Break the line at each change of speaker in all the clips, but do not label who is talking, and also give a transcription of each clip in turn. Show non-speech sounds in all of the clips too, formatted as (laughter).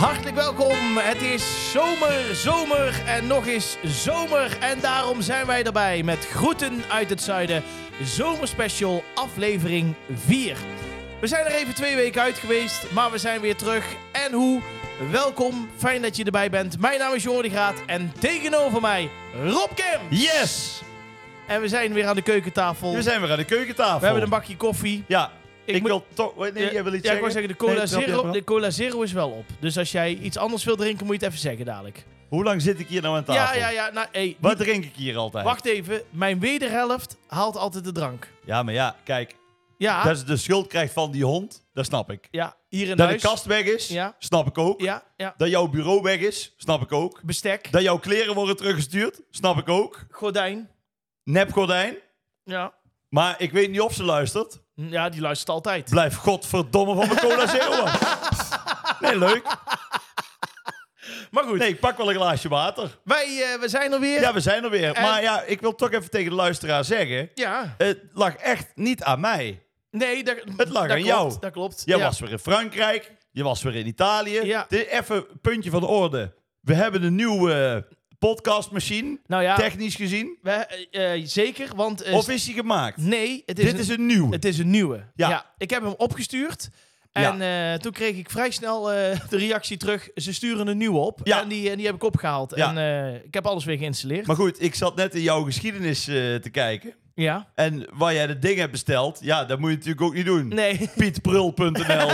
Hartelijk welkom. Het is zomer, zomer en nog eens zomer. En daarom zijn wij erbij met Groeten uit het Zuiden. Zomerspecial aflevering 4. We zijn er even twee weken uit geweest, maar we zijn weer terug. En hoe? Welkom, fijn dat je erbij bent. Mijn naam is Jordi Graat en tegenover mij Rob Kim.
Yes!
En we zijn weer aan de keukentafel.
We
We
zijn weer aan de keukentafel.
hebben een bakje koffie.
Ja, ik,
moet-
wil toch... Nee,
Ja,
jij wil iets
ja, ik
zeggen?
wou zeggen, de cola,
Nee, snap je,
zero,
snap
de
je.
cola Zero is wel op. Dus als jij iets anders wil drinken, moet je het even zeggen dadelijk.
Hoe lang zit ik hier nou aan tafel?
Ja, ja, ja. Nou, hey,
Wat
niet-
drink ik hier altijd?
wacht even. Mijn wederhelft haalt altijd de drank.
Ja, maar ja, kijk.
Ja,
Dat ze de schuld krijgt van die hond, dat snap ik.
ja hier in
Dat
huis.
de kast weg is,
Ja.
snap ik ook.
Ja, ja.
Dat jouw bureau weg is, snap ik ook.
Bestek,
Dat jouw kleren worden teruggestuurd, snap ik ook.
gordijn.
Nepgordijn.
Ja.
Maar ik weet niet of ze luistert.
ja, die luistert altijd.
Blijf godverdomme van mijn
(laughs)
cola zero af. Nee, leuk.
Maar goed,
Nee, ik pak wel een glaasje water.
wij eh, we zijn er weer.
Ja, we zijn er weer.
En-
Maar ja, ik wil toch even tegen de luisteraar zeggen...
Ja.
Het lag echt niet aan mij.
Nee, dat,
Het lag
dat
aan
klopt,
jou.
Dat klopt.
Jij
ja.
was weer in Frankrijk. Je was weer in Italië.
Ja.
Dit even een puntje van de orde. We hebben een nieuwe podcastmachine.
Nou ja,
Technisch gezien.
we, eh, eh, zeker, want... eh,
Of is die gemaakt?
nee, het is,
Dit
een,
is een nieuwe.
het is een nieuwe.
Ja.
Ik heb hem opgestuurd. En eh, toen kreeg ik vrij snel eh, de reactie terug. Ze sturen een nieuwe op.
Ja.
En die, en die heb ik opgehaald.
Ja.
En eh, ik heb alles weer geïnstalleerd.
Maar goed, ik zat net in jouw geschiedenis eh, te kijken.
ja.
En waar jij dat ding hebt besteld, ja, dat moet je natuurlijk ook niet doen.
Nee, (laughs)
Pietprul.nl.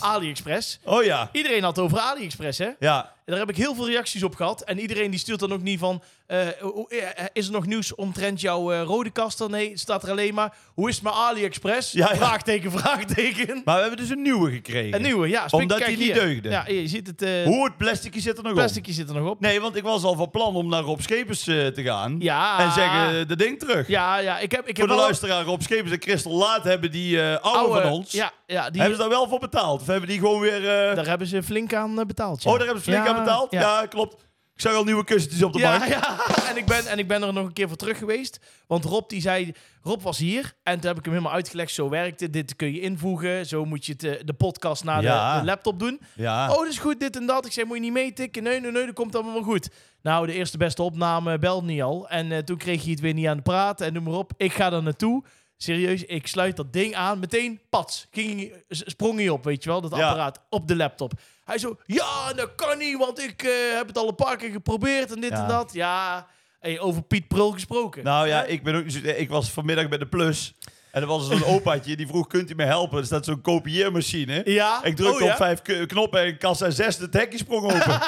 AliExpress.
oh ja.
Iedereen had het over AliExpress, hè?
Ja.
Daar heb ik heel veel reacties op gehad. En iedereen die stuurt dan ook niet van... eh, hoe- eh, is er nog nieuws omtrent jouw eh, rode kast? dan? Nee, het staat er alleen maar... Hoe is het met AliExpress?
Ja, ja.
Vraagteken,
(laughs)
vraagteken.
Maar we hebben dus een nieuwe gekregen.
Een nieuwe, ja. spik-
Omdat
kijk
die niet
hier.
deugde.
Ja, je ziet het... eh
Hoe het plasticje zit er nog op?
plasticje zit er nog op.
Nee, want ik was al van plan om naar Rob Schepers eh, te gaan.
Ja.
En zeggen, eh, dat ding terug.
Ja, ja. Ik heb, ik
Voor
heb
de
wel-
luisteraar, Rob Schepers en Christel Laat hebben die eh oude,
oude-
van ons.
Ja, ja die,
Hebben ze daar wel voor betaald? Of hebben die gewoon weer... eh,
daar hebben ze flink aan eh, betaald. ja.
Oh, daar hebben ze flink
Ja,
aan betaald? Ja.
ja.
klopt. Ik zag al nieuwe kussentjes op de
Ja, (laughs)
bank.
ja. En, ik ben, en ik ben er nog een keer voor terug geweest. Want Rob, die zei, Rob was hier. En toen heb ik hem helemaal uitgelegd. Zo werkt het. Dit kun je invoegen. Zo moet je het, eh, de podcast naar de-
Ja.
de, laptop doen.
Ja.
Oh, dat is goed. Dit en dat. Ik zei, moet je niet meetikken? Nee, nee, nee. Dat komt allemaal wel goed. Nou, de eerste beste opname belde niet al. En eh, toen kreeg je het weer niet aan het praten. En noem maar op. Ik ga daar naartoe. Serieus, ik sluit dat ding aan. Meteen, pats. Ging, hij- s- sprong hij op, weet je wel, dat
Ja.
apparaat op de laptop. Hij zo, ja, dat kan niet, want ik eh, heb het al een paar keer geprobeerd en dit
Ja.
en dat. Ja, hey, over Piet Prul gesproken.
Nou ja,
Hè?
ik, ben ook, niet zo- ik was vanmiddag bij de Plus. En er was zo'n opaatje die vroeg, kunt u me helpen? Er staat zo'n kopieermachine.
ja?
Ik drukte
Oh, ja?
op vijf k- knoppen en kassa 6 het hekje sprong
(laughs)
open.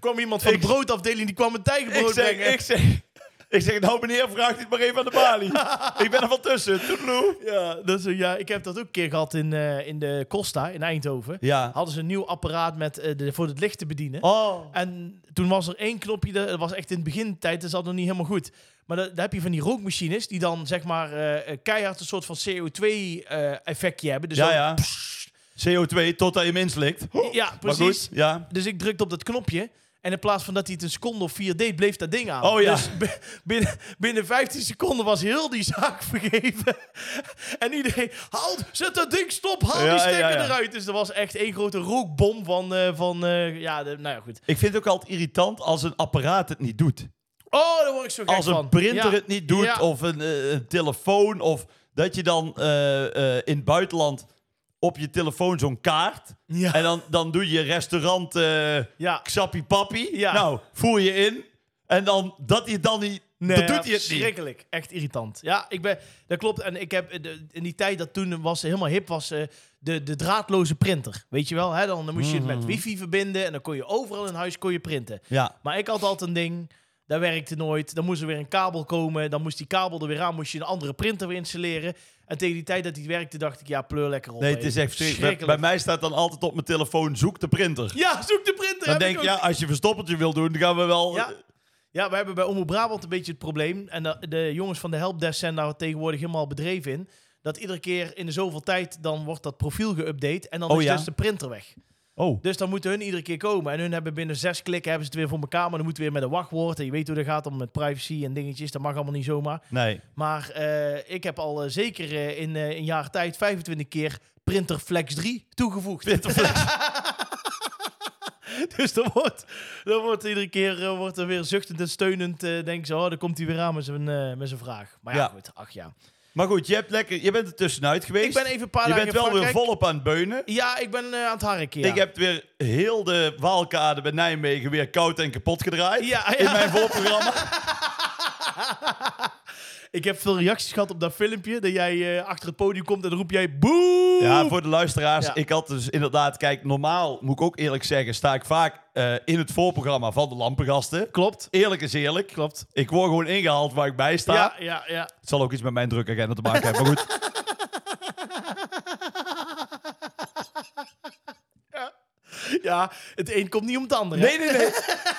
kwam iemand van
Ik-
de broodafdeling, die kwam een
ik,
tijgerbrood
zeg,
brengen.
ik, zeg, ik zeg, nou meneer, vraag dit maar even aan de
(laughs)
balie. ik ben er van tussen. Toedeloe.
Ja, dat is, ja, ik heb dat ook een keer gehad in, eh, in de Costa in Eindhoven.
Ja.
Hadden ze een nieuw apparaat met, eh, de, voor het licht te bedienen.
Oh.
En toen was er één knopje, dat dat was echt in het begintijd, dat zat nog niet helemaal goed. Maar dan dan heb je van die rookmachines die dan zeg maar eh, keihard een soort van CO2-effectje hebben. Dus
Ja,
dan-
ja. CO2 totdat je hem inslikt.
ja,
Maar
precies.
goed, ja.
Dus ik drukte op dat knopje. En in plaats van dat hij het een seconde of vier deed, bleef dat ding aan.
Oh ja.
Dus (laughs) b- binnen, binnen 15 seconden was heel die zaak (laughs) vergeven. En iedereen, haal, zet dat ding, stop, haal
Ja,
die
ja,
stekker
ja.
eruit. Dus er was echt één grote rookbom van, eh, van eh, ja, de- nou ja, goed.
Ik vind het ook altijd irritant als een apparaat het niet doet.
Oh, daar word ik zo gek
Als
van.
een printer
Ja.
het niet doet,
Ja.
of een, eh, een telefoon, of dat je dan eh, eh, in het buitenland op je telefoon zo'n kaart.
Ja.
En dan, dan doe je restaurant eh
Ja.
Xappie Pappie.
Ja.
Nou, voer je in. En dan dat hij het dan niet.
Nee,
dat doet hij het niet.
Schrikkelijk. Echt irritant. Ja, ik ben, dat klopt. En ik heb eh, de- in die tijd dat toen was, helemaal hip was, eh, de, de draadloze printer. Weet je wel, hè? Dan, dan moest je het
Mhm.
met wifi verbinden en dan kon je overal in huis kon je printen.
Ja.
Maar ik had altijd een ding, dat werkte nooit. Dan moest er weer een kabel komen, dan moest die kabel er weer aan, moest je een andere printer weer installeren. En tegen die tijd dat die werkte, dacht ik, ja, pleur lekker op.
Nee,
hé.
het is echt verschrikkelijk. Bij, bij
Schrikkelijk.
mij staat dan altijd op mijn telefoon: zoek de printer.
Ja, zoek de printer.
Dan
heb
denk
ik
je,
ook.
ja, als je verstoppertje wil doen, dan gaan we wel.
Ja. eh, Ja, we hebben bij Omroep Brabant een beetje het probleem. En de, de jongens van de helpdesk zijn daar tegenwoordig helemaal bedreven in. Dat iedere keer in de zoveel tijd dan wordt dat profiel geüpdate. En dan
Oh
is
ja?
dus de printer weg.
Oh.
Dus dan moeten hun iedere keer komen. En hun hebben binnen zes klikken hebben ze het weer voor elkaar. Maar dan moeten we weer met een wachtwoord. En je weet hoe dat gaat om met privacy en dingetjes. Dat mag allemaal niet zomaar.
Nee.
Maar eh, ik heb al eh, zeker eh, in eh, een jaar tijd 25 keer printer Flex 3 toegevoegd.
Winterflex.
(laughs) Dus dan wordt, dan wordt iedere keer eh, wordt er weer zuchtend en steunend. eh denken ze, oh, dan komt hij weer aan met zijn, eh, met zijn vraag. Maar ja,
Ja.
goed, ach ja.
maar goed, je, hebt lekker, je bent er tussenuit geweest.
Ik ben even een paar
je
dagen
bent
in
wel weer
Frankrijk.
volop aan het beunen.
Ja, ik ben eh, aan het harken, ja.
Ik heb weer heel de Waalkade bij Nijmegen weer koud en kapot gedraaid.
Ja,
In
ja.
mijn
(laughs)
voorprogramma.
Ik heb veel reacties gehad op dat filmpje. Dat jij eh, achter het podium komt en dan roep jij boe.
Ja, voor de luisteraars.
Ja.
Ik had dus inderdaad, kijk, normaal moet ik ook eerlijk zeggen, sta ik vaak eh, in het voorprogramma van de Lampengasten.
Klopt.
Eerlijk is eerlijk.
Klopt.
Ik word gewoon ingehaald waar ik bij sta.
Ja, ja, ja.
Het zal ook iets met mijn drukagenda te maken hebben. Maar goed,
Ja, het een komt niet om het ander. hè?
nee, nee, nee.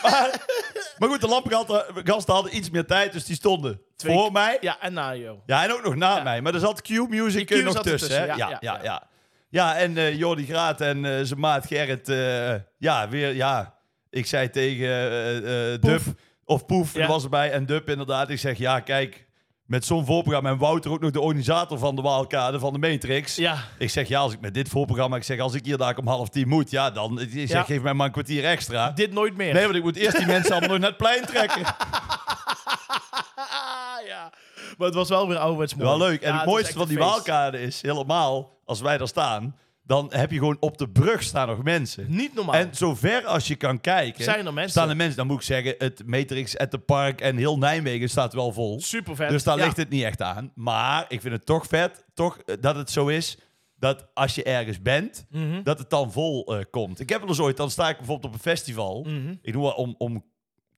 maar, maar goed, de Lampengasten gasten hadden iets meer tijd, dus die stonden
Twee-
voor mij. Ja.
Ja, en nou, na jou.
en ook nog na mij. Maar er zat Q-music
Die Q
nog
zat
tussen. hè? Ja,
ertussen,
ja,
ja,
ja.
ja,
ja, en eh Jordi Graat en eh, zijn maat Gerrit. eh, ja, weer, ja. Ik zei tegen eh, eh,
Poef.
Dub of Poef,
Ja.
die was erbij. En Dub inderdaad. Ik zeg, ja, kijk, met zo'n voorprogramma. En Wouter ook nog de organisator van de Waalkade, van de Matrix.
Ja.
Ik zeg, ja, als ik met dit voorprogramma, ik zeg, als ik hier daar om half tien moet, ja, dan, ik zeg,
Ja.
geef mij maar een kwartier extra.
Dit nooit meer.
Nee, want ik moet eerst die mensen allemaal nog naar het plein trekken.
Ah, ja. Maar het was wel weer ouderwets mooi.
(laughs) Wel leuk. En
Ja,
het
was
mooiste
echt
van die
een feest.
waalkade is, helemaal, als wij daar staan, dan heb je gewoon op de brug staan nog mensen.
Niet normaal.
En zover als je kan kijken,
Zijn er mensen?
staan er mensen. Dan moet ik zeggen, het Matrix at the Park en heel Nijmegen staat wel vol.
Super vet.
Dus daar
ja.
ligt het niet echt aan. Maar ik vind het toch vet, toch eh, dat het zo is dat als je ergens bent,
Mhm.
dat het dan vol eh, komt. Ik heb wel eens ooit, dan sta ik bijvoorbeeld op een festival.
Mm.
Ik doe wel om, om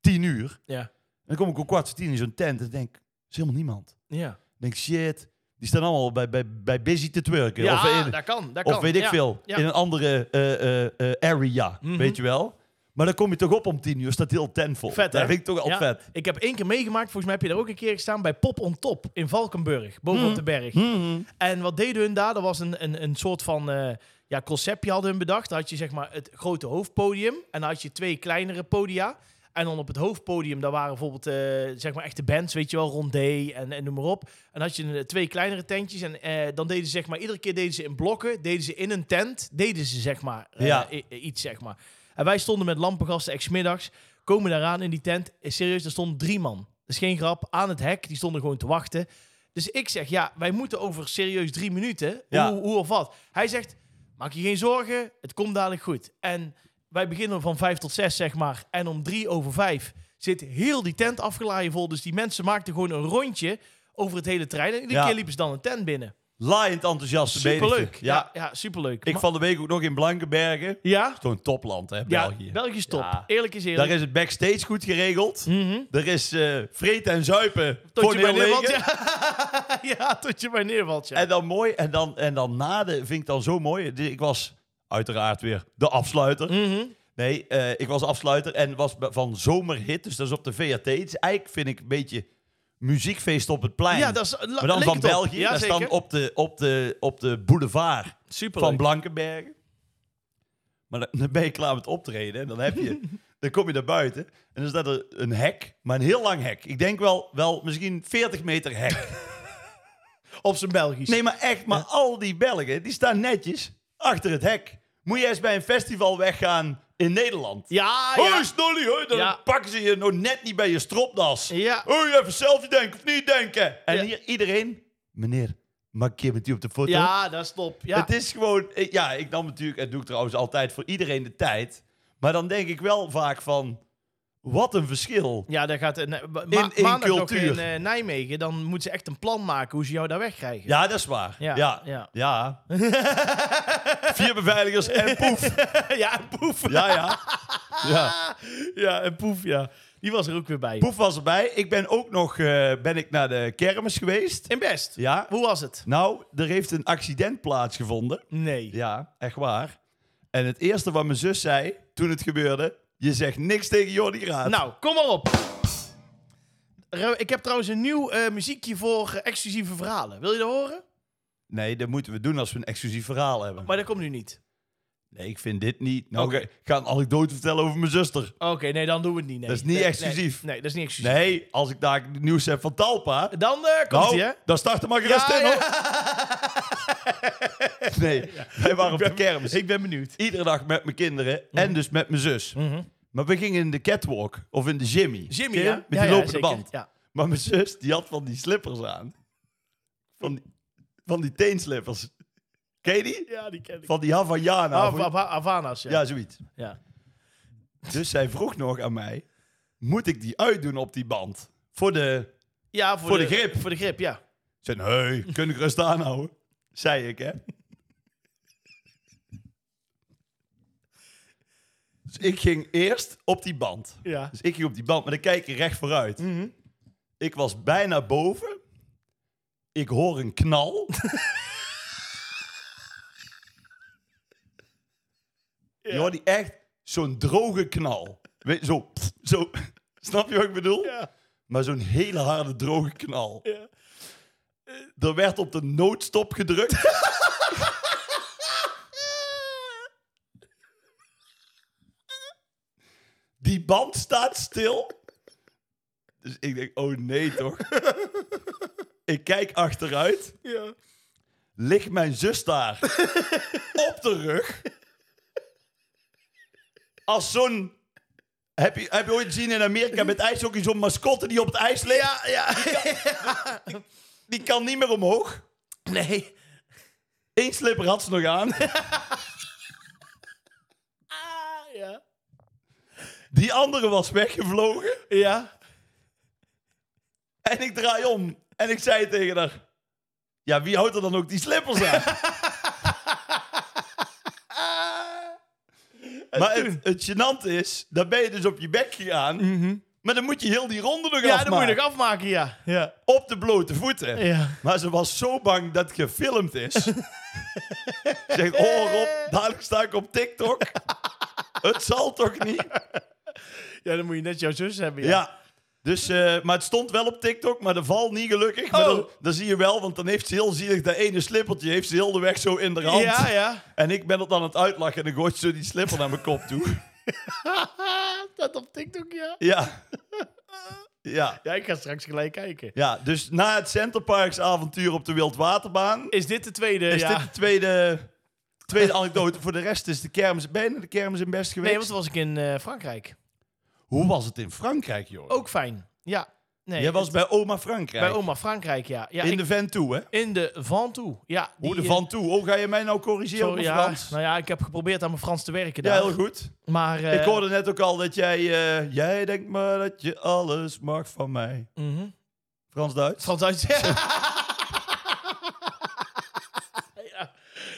tien uur.
Mhm. Ja.
En dan kom ik om kwart voor tien in zo'n tent en denk, er is helemaal niemand. Ik
Ja,
denk, shit, die staan allemaal bij, bij, bij busy te twerken.
ja
of, in-
dat kan. Dat
of
kan.
weet ik
Ja,
veel,
ja. Mhm.
in een andere eh, eh, eh, area, weet je wel. Maar dan kom je toch op om tien uur, staat heel tent vol.
Vet, hè?
Dat vind ik toch al
Ja.
vet.
Ik heb één keer meegemaakt, volgens mij heb je daar ook een keer gestaan, bij Pop on Top in Valkenburg, boven
Mhm.
op de berg. En wat deden hun daar? Er was een, een, een soort van eh, ja, conceptje hadden hun bedacht. Dan had je zeg maar het grote hoofdpodium en dan had je twee kleinere podia. En dan op het hoofdpodium, daar waren bijvoorbeeld eh, zeg maar echte bands, weet je wel, Rondé en, en noem maar op. En dan had je eh, twee kleinere tentjes en eh, dan deden ze zeg maar, iedere keer deden ze in blokken, deden ze in een tent, deden ze zeg maar eh,
Ja.
i- i- iets zeg maar. En wij stonden met lampengasten, ex-middags, komen daaraan in die tent. Eh, Serieus, er stonden drie man. Dat is geen grap. Aan het hek, die stonden gewoon te wachten. Dus ik zeg, ja, wij moeten over serieus drie minuten.
Ja.
Hoe, hoe of wat? Hij zegt, maak je geen zorgen, het komt dadelijk goed. En wij beginnen van vijf tot zes, zeg maar. En om drie over vijf zit heel die tent afgeladen vol. Dus die mensen maakten gewoon een rondje over het hele terrein. En iedere
Ja.
keer liepen ze dan een tent binnen.
Laaiend enthousiast.
Superleuk.
Ja.
Ja, ja, superleuk.
Ik
Maar-
van de week ook nog in Blankenbergen.
ja?
Zo'n topland, hè,
Ja,
België.
België is top.
Ja.
Eerlijk is eerlijk.
Daar is het backstage goed geregeld.
Mhm.
Er is eh vreten en zuipen
Tot
voor
je
de
bij
heel
neervalt.
leger.
Ja. ja, (laughs) tot je bij neervalt. Ja.
En dan mooi. En dan, en dan na de, vind ik dan zo mooi. Dus Ik was uiteraard weer de afsluiter.
Mhm.
Nee, eh, ik was afsluiter en was b- van zomerhit. Dus dat is op de VAT. Het is eigenlijk, vind ik, een beetje muziekfeest op het plein.
Ja, dat is, la-
maar dan
leek
van
het op.
België.
Ja,
dat is dan
zeker.
op de, op de, op de boulevard.
Superleuk.
van Blankenbergen. Maar dan, dan ben je klaar met optreden en dan heb
(laughs)
je... dan kom je naar buiten en dan staat er een hek, maar een heel lang hek. Ik denk wel, wel misschien 40 meter hek.
Op zijn Belgisch.
Nee, maar echt, maar al die Belgen, die staan netjes achter het hek. Moet je eens bij een festival weggaan in Nederland.
Ja,
Hoi,
ja.
Snolly, hoi, dan
Ja.
pakken ze je nog net niet bij je stropdas.
Ja.
Hoi, even selfie denken of niet denken. En
Ja.
hier iedereen, meneer, mag ik een keer met u op de foto?
Ja, dat is top. Ja.
Het is gewoon, ik- ja, ik nam natuurlijk, en doe ik trouwens altijd voor iedereen de tijd. Maar dan denk ik wel vaak van, wat een verschil.
ja, daar gaat... een ma-
in
maandag nog
cultuur.
in eh, Nijmegen, dan moeten ze echt een plan maken hoe ze jou daar wegkrijgen.
Ja, dat is waar.
Ja,
Ja, ja.
ja.
Vier beveiligers en poef.
(laughs) ja en Poef.
Ja, ja. ja.
(laughs) Ja, en Poef, ja. Die was er ook weer bij.
Poef was erbij. Ik ben ook nog eh, ben ik naar de kermis geweest.
En best.
Ja.
Hoe was het?
Nou, er heeft een accident plaatsgevonden.
Nee.
Ja, echt waar. En het eerste wat mijn zus zei toen het gebeurde... Je zegt niks tegen Jordi Graat.
Nou, kom maar op. Ro- Ik heb trouwens een nieuw eh, muziekje voor eh, exclusieve verhalen. Wil je dat horen?
Nee, dat moeten we doen als we een exclusief verhaal hebben.
Maar dat komt nu niet.
Nee, ik vind dit niet. Nou,
Oké.
ik ga een anekdote vertellen over mijn zuster.
Oké, nee, dan doen we het niet. Nee.
Dat is niet
Nee,
exclusief.
Nee, nee, dat is niet exclusief.
Nee, als ik daar het nieuws heb van Talpa.
Dan eh, komt
Nou,
ie, hè?
dan start er maar gerust
Ja,
in,
ja.
hoor. (laughs) Nee, wij waren op de kermis.
Ik ben benieuwd.
Iedere dag met mijn kinderen en dus met mijn zus.
Mhm.
Maar we gingen in de catwalk of in de Jimmy.
Jimmy,
Ken je?
ja?
Met
Ja,
die
ja,
lopende
zeker.
band.
Ja.
Maar mijn zus, die had van die slippers aan. Van die, van die teenslippers. Ken je die?
ja, die ken ik.
Van die Havaiana.
Ah,
of-
Hava- Havanas, ja.
ja, zoiets.
Ja.
Dus zij vroeg nog aan mij, moet ik die uitdoen op die band? Voor de...
Ja, voor,
Voor de grip.
Voor de grip, ja.
Ik zei, nee, kun ik rust aanhouden? Zei ik, hè. Dus ik ging eerst op die band.
Ja.
Dus ik ging op die band, maar dan kijk je recht vooruit.
Mhm.
Ik was bijna boven. Ik hoor een
(laughs)
knal. Je hoort die echt zo'n droge knal. Weet, zo, pff, zo. (laughs) Snap je wat ik bedoel?
Ja.
Maar zo'n hele harde, droge knal.
Ja.
Er werd op de noodstop gedrukt. Die band staat stil. Dus ik denk, oh nee toch. Ik kijk achteruit.
ja.
Ligt mijn zus daar. op de rug. Als zo'n... Heb je, heb je ooit gezien in Amerika met ijshockey zo'n mascotte die op het ijs ligt?
Ja, ja.
Die kan niet meer omhoog.
Nee.
Eén slipper had ze nog aan.
Ah, ja.
Die andere was weggevlogen.
Ja.
En ik draai om. En ik zei tegen haar... Ja, wie houdt er dan ook die slippers
(laughs)
aan? maar het, het gênante is... Dan ben je dus op je bek gegaan. Maar dan moet je heel die ronde nog
Mhm. Ja,
afmaken.
dat moet je nog afmaken, ja. Ja.
Op de blote voeten.
Ja.
Maar ze was zo bang dat het gefilmd
(laughs)
is. Ze zegt, oh Rob, dadelijk sta ik op TikTok. het zal toch niet?
Ja, dan moet je net jouw zus hebben,
Ja.
ja.
Dus, eh, maar het stond wel op TikTok, maar de val niet gelukkig. Maar
Oh.
dan, dan zie je wel, want dan heeft ze heel zielig dat ene slippertje heeft ze heel de weg zo in de hand.
Ja, ja. (laughs)
En ik ben het dan aan het uitlachen en dan gooit ze die slipper naar mijn kop
(laughs)
toe.
Dat op TikTok, ja.
Ja. Ja.
Ja, ik ga straks gelijk kijken.
Ja, dus na het Centerparks avontuur op de Wildwaterbaan
Is dit de tweede?
is
ja.
dit de tweede, tweede anekdote. Voor de rest is de kermis, ben je naar de kermis in Best geweest?
Nee, want toen was ik in eh, Frankrijk.
Hoe was het in Frankrijk, joh?
Ook fijn. Ja. Nee,
Jij was
het-
bij oma Frankrijk.
bij oma Frankrijk, ja. ja
in
ik-
de vent toe, hè?
in de Van toe. Ja,
Hoe de
eh,
van toe? Oh, ga je mij nou corrigeren op
sorry,
mijn
ja,
Frans?
Nou ja, ik heb geprobeerd aan mijn Frans te werken
Ja,
daar.
heel goed.
Maar, eh,
ik hoorde net ook al dat jij... eh, jij denkt maar dat je alles mag van mij.
mhm.
Frans-Duits?
(laughs) Frans
(laughs)
uit. ja.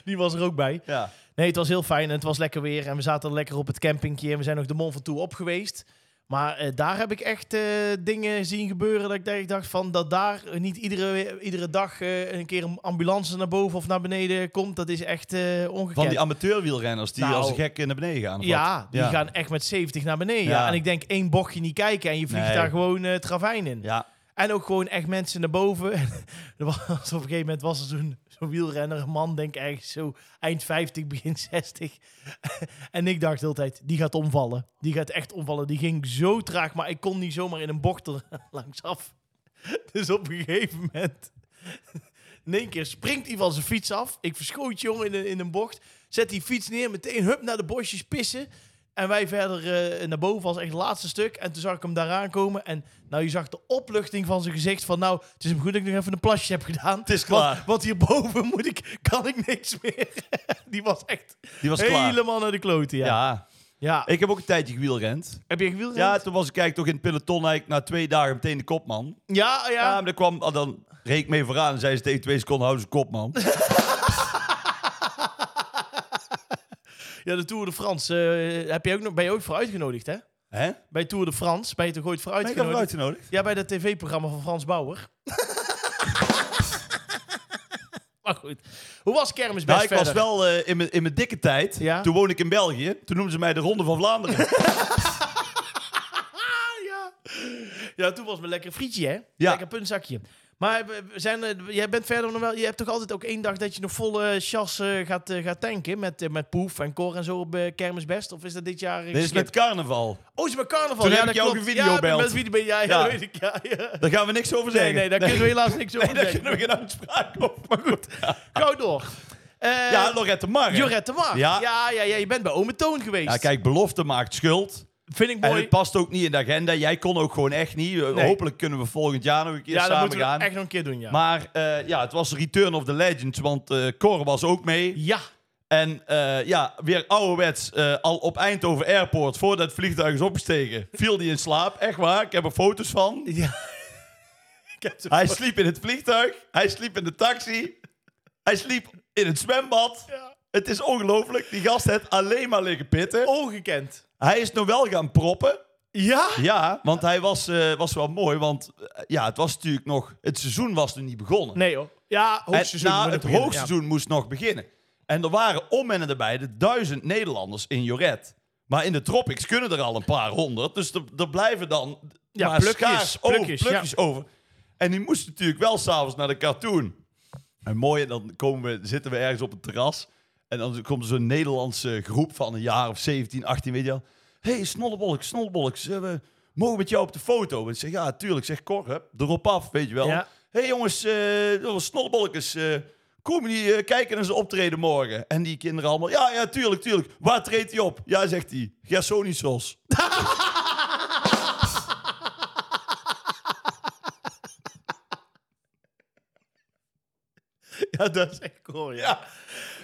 Die was er ook bij.
Ja.
Nee, het was heel fijn en het was lekker weer. En we zaten lekker op het campingje en we zijn nog de Mont Ventoux op geweest. Maar eh, daar heb ik echt eh, dingen zien gebeuren dat ik echt dacht van dat daar niet iedere, iedere dag eh, een keer een ambulance naar boven of naar beneden komt. Dat is echt eh, ongekend.
Van die amateurwielrenners die
Nou,
als een gek naar beneden gaan. of wat?
ja, die
Ja.
gaan echt met 70 naar beneden.
Ja.
En ik denk één bochtje niet kijken en je vliegt
Nee.
daar gewoon eh, het ravijn in.
Ja.
En ook gewoon echt mensen naar boven. (laughs) er was, op een gegeven moment was er zo'n zo'n wielrenner, een man, denk ik ergens zo eind 50, begin 60. en ik dacht de hele tijd, die gaat omvallen. Die gaat echt omvallen. Die ging zo traag, maar ik kon niet zomaar in een bocht er (laughs) langs af. Dus op een gegeven moment, in één keer springt hij van zijn fiets af. Ik verschoot jongen in een, in een bocht. Zet die fiets neer, meteen hup naar de bosjes pissen. En wij verder eh, naar boven als echt het laatste stuk. En toen zag ik hem daar aankomen. En nou, je zag de opluchting van zijn gezicht. Van nou, het is hem goed dat ik nog even een plasje heb gedaan. Het
is klaar.
Want, want hierboven moet ik, kan ik niks meer. (laughs) Die was echt
Die was klaar.
helemaal naar de kloten, ja. Ja.
Ja. Ik heb ook een tijdje gewielrend.
Heb je gewielrend?
Ja, toen was ik eigenlijk toch in het peloton eigenlijk na twee dagen meteen de kopman.
ja.
Ja,
ja.
maar dan kwam, ah, dan reed ik mee vooraan en zei ze tegen twee seconden, hou ze kop, man.
Ja, de Tour de France. eh, heb je ook nog, ben je ook voor uitgenodigd, hè?
Hè?
Bij Tour de France ben je toch ooit voor
Ben ik daarvoor
uitgenodigd?
uitgenodigd?
Ja, bij dat tv-programma van Frans
(laughs)
Bauer. maar goed. Hoe was kermis best
Nou, ik was
verder?
wel eh, in mijn- in mijn dikke tijd.
Ja?
Toen woonde ik in België. Toen noemden ze mij de Ronde van
(laughs)
Vlaanderen.
Ah, ja. ja, toen was mijn lekker frietje, hè?
Ja.
Lekker puntzakje. Maar eh, we- we zijn, er- jij bent verder nog wel. Je hebt toch altijd ook één dag dat je nog volle chas eh, gaat, eh, gaat tanken met, eh, met Poef en Cor en zo op eh, Kermisbest? Of is dat dit jaar? eh,
Dit is
geskipt?
met carnaval.
Oh, is het met carnaval?
Toen
ja,
heb
dat
ik jou ook
klopt.
een video
ja,
gebeld.
Met video, ja, ja,
Ja.
dat (laughs) weet ik. Ja, ja.
Daar gaan we niks over
Nee,
zeggen.
nee, daar kunnen we helaas niks
(laughs)
over
daar
zeggen.
kunnen we geen uitspraak over. Maar goed.
Gauw door. Eh,
Ja, Lorette Mar. hè?
Jorette de Mar. Ja.
Ja.
Ja, ja, Je bent bij Ome Toon geweest.
Ja, kijk, belofte maakt schuld.
Vind ik
En
mooi.
het past ook niet in de agenda. Jij kon ook gewoon echt niet. Eh,
Nee.
Hopelijk kunnen we volgend jaar nog een keer
Ja, dat
samen
moeten we
gaan.
echt nog een keer doen, ja.
Maar eh, ja, het was Return of the Legends, want eh Cor was ook mee.
ja.
En eh, ja, weer ouderwets, eh, al op Eindhoven Airport, voordat het vliegtuig is opgestegen, viel hij in slaap. Echt waar, ik heb er foto's van.
ja. (laughs) ik heb ze
Hij sliep in het vliegtuig, hij sliep in de taxi, hij sliep in het zwembad.
Ja.
Het is ongelooflijk, die gast heeft alleen maar liggen pitten.
ongekend.
Hij is nog wel gaan proppen.
Ja?
Ja, want hij was, eh, was wel mooi, want eh, ja, het was natuurlijk nog, het seizoen was nog niet begonnen.
Nee hoor. Ja, hoogseizoen.
En,
moet
nou, het
beginnen,
hoogseizoen moest nog beginnen. En er waren om en erbij de duizend Nederlanders in Joret. Maar in de tropics kunnen er al een paar honderd. Dus er, er blijven dan
Ja,
maar
plukjes,
schaars over,
plukjes,
plukjes over. En die moesten natuurlijk wel s'avonds naar de cartoon. En mooi, en dan komen we, zitten we ergens op het terras. En dan komt er zo'n Nederlandse groep van een jaar of 17, 18, weet je wel. Hé, hey, snollebolks, snollebolks, eh, we mogen met jou op de foto? En ik zeg, ja, tuurlijk. Zeg, Cor, hup, erop af, weet je wel.
Ja.
Hé hey, jongens, uh, snollebolkes, eh, komen die eh, kijken naar zijn optreden morgen? En die kinderen allemaal, ja, ja, tuurlijk, tuurlijk. Waar treedt hij op? Ja, zegt hij,
(laughs)
Gersonisos.
Ja, dat is echt cool, ja.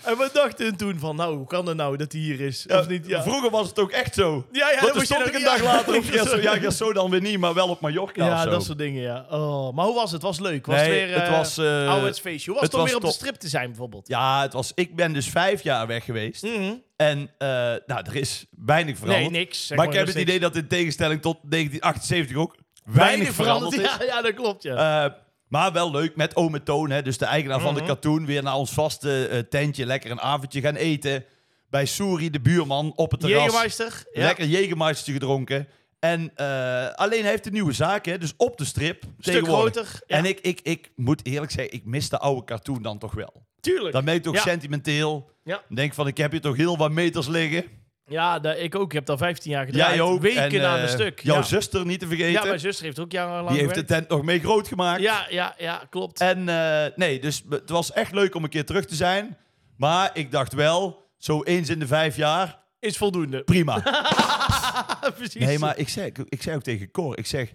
En we dachten toen van, nou, hoe kan het nou dat hij hier is?
Ja,
of niet? Ja.
Eh, Vroeger was het ook echt zo.
Ja, ja, dan
Want
moest
dan
je
stond
nog-
ik een
ja.
dag later
(laughs)
op
Ja,
Gerso.
sorry.
Ja, Gerso dan weer niet, maar wel op Mallorca
Ja,
of zo.
dat soort dingen, ja. Oh, maar hoe was het? Was het leuk? Was
Nee,
het weer
het
eh,
was, eh,
ouderwets feestje? Hoe was het
het
om
was
weer op de
top.
strip te zijn, bijvoorbeeld?
Ja, het was, ik ben dus vijf jaar weg geweest.
Mhm.
En eh, nou, er is weinig veranderd.
Nee, niks. Zeg
Maar,
maar,
ik heb
nog
het
steeds.
idee dat in tegenstelling tot 1978 ook weinig, veranderd, is.
Ja, ja, dat klopt, ja. Mhm.
Eh, maar wel leuk met Ome Toon, hè, dus de eigenaar van de cartoon, weer naar ons vaste eh, tentje lekker een avondje gaan eten. Bij Soeri, de buurman, op het terras.
Jägermeister. Ja.
Lekker Jägermeistertje gedronken. En eh, alleen hij heeft een nieuwe zaak, hè, dus op de strip.
Stuk groter. Ja,
En ik, ik, ik moet eerlijk zeggen, ik mis de oude cartoon dan toch wel.
tuurlijk.
Dan ben je toch
Ja.
sentimenteel.
Ja.
Dan Denk van, ik heb hier toch heel wat meters liggen.
Ja, daar- ik ook. Ik heb daar 15 jaar gedraaid.
Jij ook.
Weken
En,
aan
eh,
een stuk.
Jouw
ja.
zuster niet te vergeten.
ja, mijn zuster heeft ook jarenlang
Die heeft de
gewerkt.
tent nog mee groot gemaakt.
Ja, ja, ja, klopt.
En eh, nee, dus b- het was echt leuk om een keer terug te zijn. Maar ik dacht wel, zo eens in de vijf jaar,
Is
(laughs)
voldoende. (laughs)
prima.
Precies.
nee, maar ik zei, ik zei ook tegen Cor, ik zeg...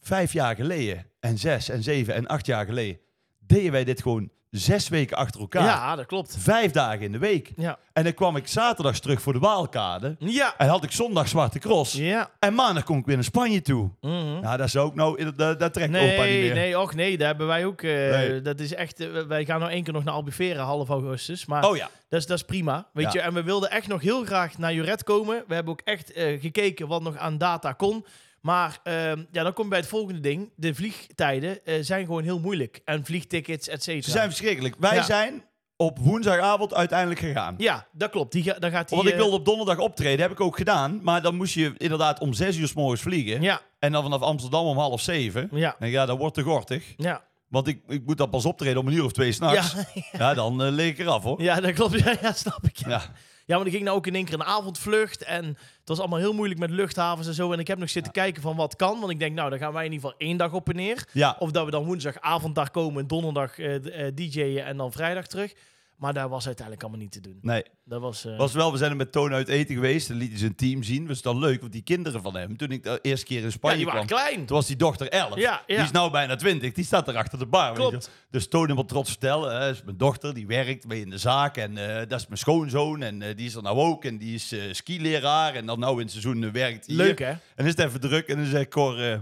Vijf jaar geleden, en zes, en zeven, en acht jaar geleden... deden wij dit gewoon zes weken achter elkaar.
Ja, dat klopt.
Vijf dagen in de week.
Ja.
En dan kwam ik zaterdags terug voor de Waalkade.
Ja.
En had ik zondag Zwarte Cross.
Ja.
En maandag kom ik weer naar Spanje toe.
Mhm.
Nou, dat zou ook nou... Dat, dat trekt opa niet
Nee,
meer.
nee, och nee, daar hebben wij ook. eh,
Nee.
Dat is echt. eh, wij gaan nou één keer nog naar Albufeira half augustus, maar
Oh ja.
dat, is, dat is prima, weet
Ja.
je. En we wilden echt nog heel graag naar Juret komen. We hebben ook echt eh, gekeken wat nog aan data kon, maar ehm, ja, dan kom je bij het volgende ding. De vliegtijden eh, zijn gewoon heel moeilijk en vliegtickets, et cetera.
Ze zijn verschrikkelijk. Wij
Ja.
zijn op woensdagavond uiteindelijk gegaan.
Ja, dat klopt. Die ga, dan gaat die.
Want ik
eh,
wilde op donderdag optreden, heb ik ook gedaan. Maar dan moest je inderdaad om zes uur s morgens vliegen.
eh, Ja,
En dan vanaf Amsterdam om half zeven.
ja,
En ja, dat wordt te gortig.
ja,
Want ik, ik moet dan pas optreden om een uur of twee s'nachts.
ja,
Ja. dan eh, leeg ik eraf
(laughs)
hoor.
ja, dat klopt. Ja, ja snap ik. Ja.
Ja.
Ja, want ik ging nou ook in één keer een avondvlucht. En het was allemaal heel moeilijk met luchthavens en zo. En ik heb nog zitten kijken van wat kan. Want ik denk, nou, dan gaan wij in ieder geval één dag op en neer.
ja.
Of dat we dan woensdagavond daar komen en donderdag eh d- eh, DJ'en en dan vrijdag terug. Maar daar was uiteindelijk allemaal niet te doen.
Nee.
Dat was... eh,
Was wel, we zijn er met Toon uit eten geweest. Dan liet hij zijn team zien. Was dan leuk, want die kinderen van hem, toen ik de eerste keer in
ja,
Spanje
die
kwam.
waren klein.
Toen was die dochter 11.
Ja, ja.
Die is nou bijna 20. Die staat er achter de bar. weet je
Klopt.
wel. Dus Toon hem wel trots vertellen. Hè, is mijn dochter, die werkt mee in de zaak. En eh, dat is mijn schoonzoon. En eh, die is er nou ook. En die is eh skileraar. En dan nou in het seizoen eh, werkt hier.
Leuk, hè?
En is het even druk. En dan zegt Cor... eh,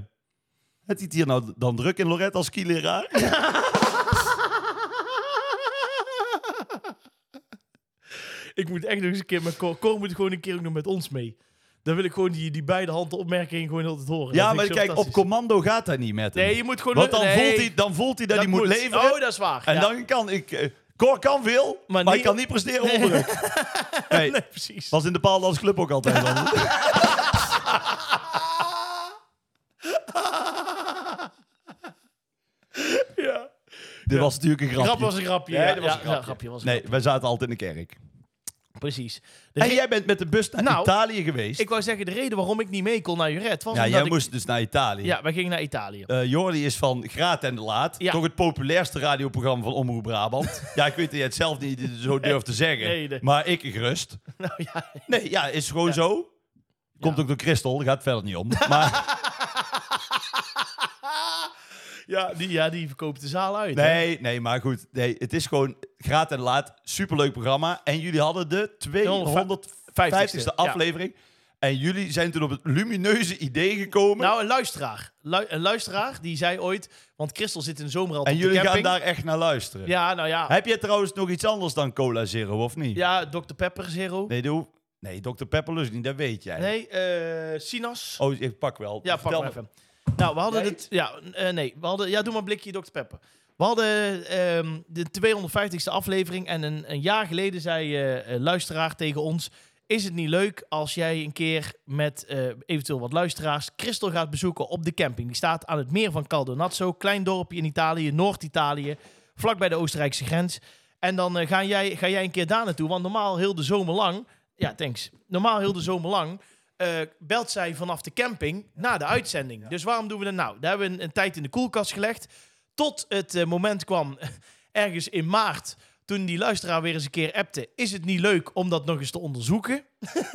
het is hier nou dan druk in Lorette
(laughs)
als skileraar?
ik moet echt nog eens een keer met Cor. Cor moet gewoon een keer ook nog met ons mee. Dan wil ik gewoon die, die beide handen opmerkingen gewoon altijd horen.
ja,
Dat
maar
vind ik zo
kijk, op
fantastisch.
commando gaat dat niet met hem.
Nee, je moet gewoon...
Want dan,
nee,
voelt hij, dan voelt hij dat, hij moet, leveren.
Oh, dat is waar.
en
ja.
dan kan ik... eh, Cor kan veel, maar,
niet-
hij kan niet presteren
(laughs)
onder druk. Nee,
Nee, precies.
was in de Paaldans Club ook
(laughs)
altijd al. Dit was natuurlijk een grapje.
Grap was een grapje.
Nee,
ja.
dat was een
Ja, ja,
grapje.
grapje was een
Nee, wij zaten altijd in de kerk.
grapje. Precies. De
En
re-
jij bent met de bus naar
Nou,
Italië geweest.
Ik wou zeggen, de reden waarom ik niet mee kon naar Juret was
ja,
omdat
jij
ik...
moest dus naar Italië.
Ja, wij gingen naar Italië.
Eh, Jordi is van Graat en de Laat.
Ja.
Toch het populairste radioprogramma van Omroep
(laughs)
Brabant. ja, ik weet dat jij het zelf niet zo durft te zeggen.
Eh, nee, nee.
Maar ik gerust.
(laughs) nou ja,
Nee, ja, is gewoon zo. Komt
Ja.
ook door Christel, daar gaat het verder niet
(laughs)
om. Maar
ja, die, ja, die verkoopt de zaal uit. hè?
nee, nee, maar goed. Nee, het is gewoon Graat en de Laat. Superleuk programma. En jullie hadden de 250ste
Ja.
aflevering. En jullie zijn toen op het lumineuze idee gekomen.
Nou, een luisteraar. Lu- een luisteraar die zei ooit... Want Christel zit in de zomer altijd
en
op
jullie
de
gaan
camping.
daar echt naar luisteren.
Ja, nou ja.
Heb jij trouwens nog iets anders dan Cola Zero, of niet?
Ja, Dr. Pepper Zero.
Nee, doe. Nee, Dr. Pepper lust niet, dat weet jij.
Nee, eh Sinas.
Oh, ik pak wel.
ja, pak
Vertel
maar
me.
even. Nou, we hadden
Jij?
het... Ja, eh, nee. We hadden, ja, doe maar een blikje Dr. Pepper. We hadden ehm, de 250ste aflevering. En een, een jaar geleden zei eh, een luisteraar tegen ons... Is het niet leuk als jij een keer met eh, eventueel wat luisteraars Christel gaat bezoeken op de camping? Die staat aan het meer van Caldonazzo, klein dorpje in Italië, Noord-Italië, vlakbij de Oostenrijkse grens. En dan eh, ga, jij, ga jij een keer daar naartoe, want normaal heel de zomer lang, ja thanks, normaal heel de zomer lang eh, belt zij vanaf de camping na de uitzending. Dus waarom doen we dat nou? Daar hebben we een, een tijd in de koelkast gelegd, tot het eh, moment kwam (laughs) ergens in maart. Toen die luisteraar weer eens een keer appte, is het niet leuk om dat nog eens te onderzoeken? (laughs)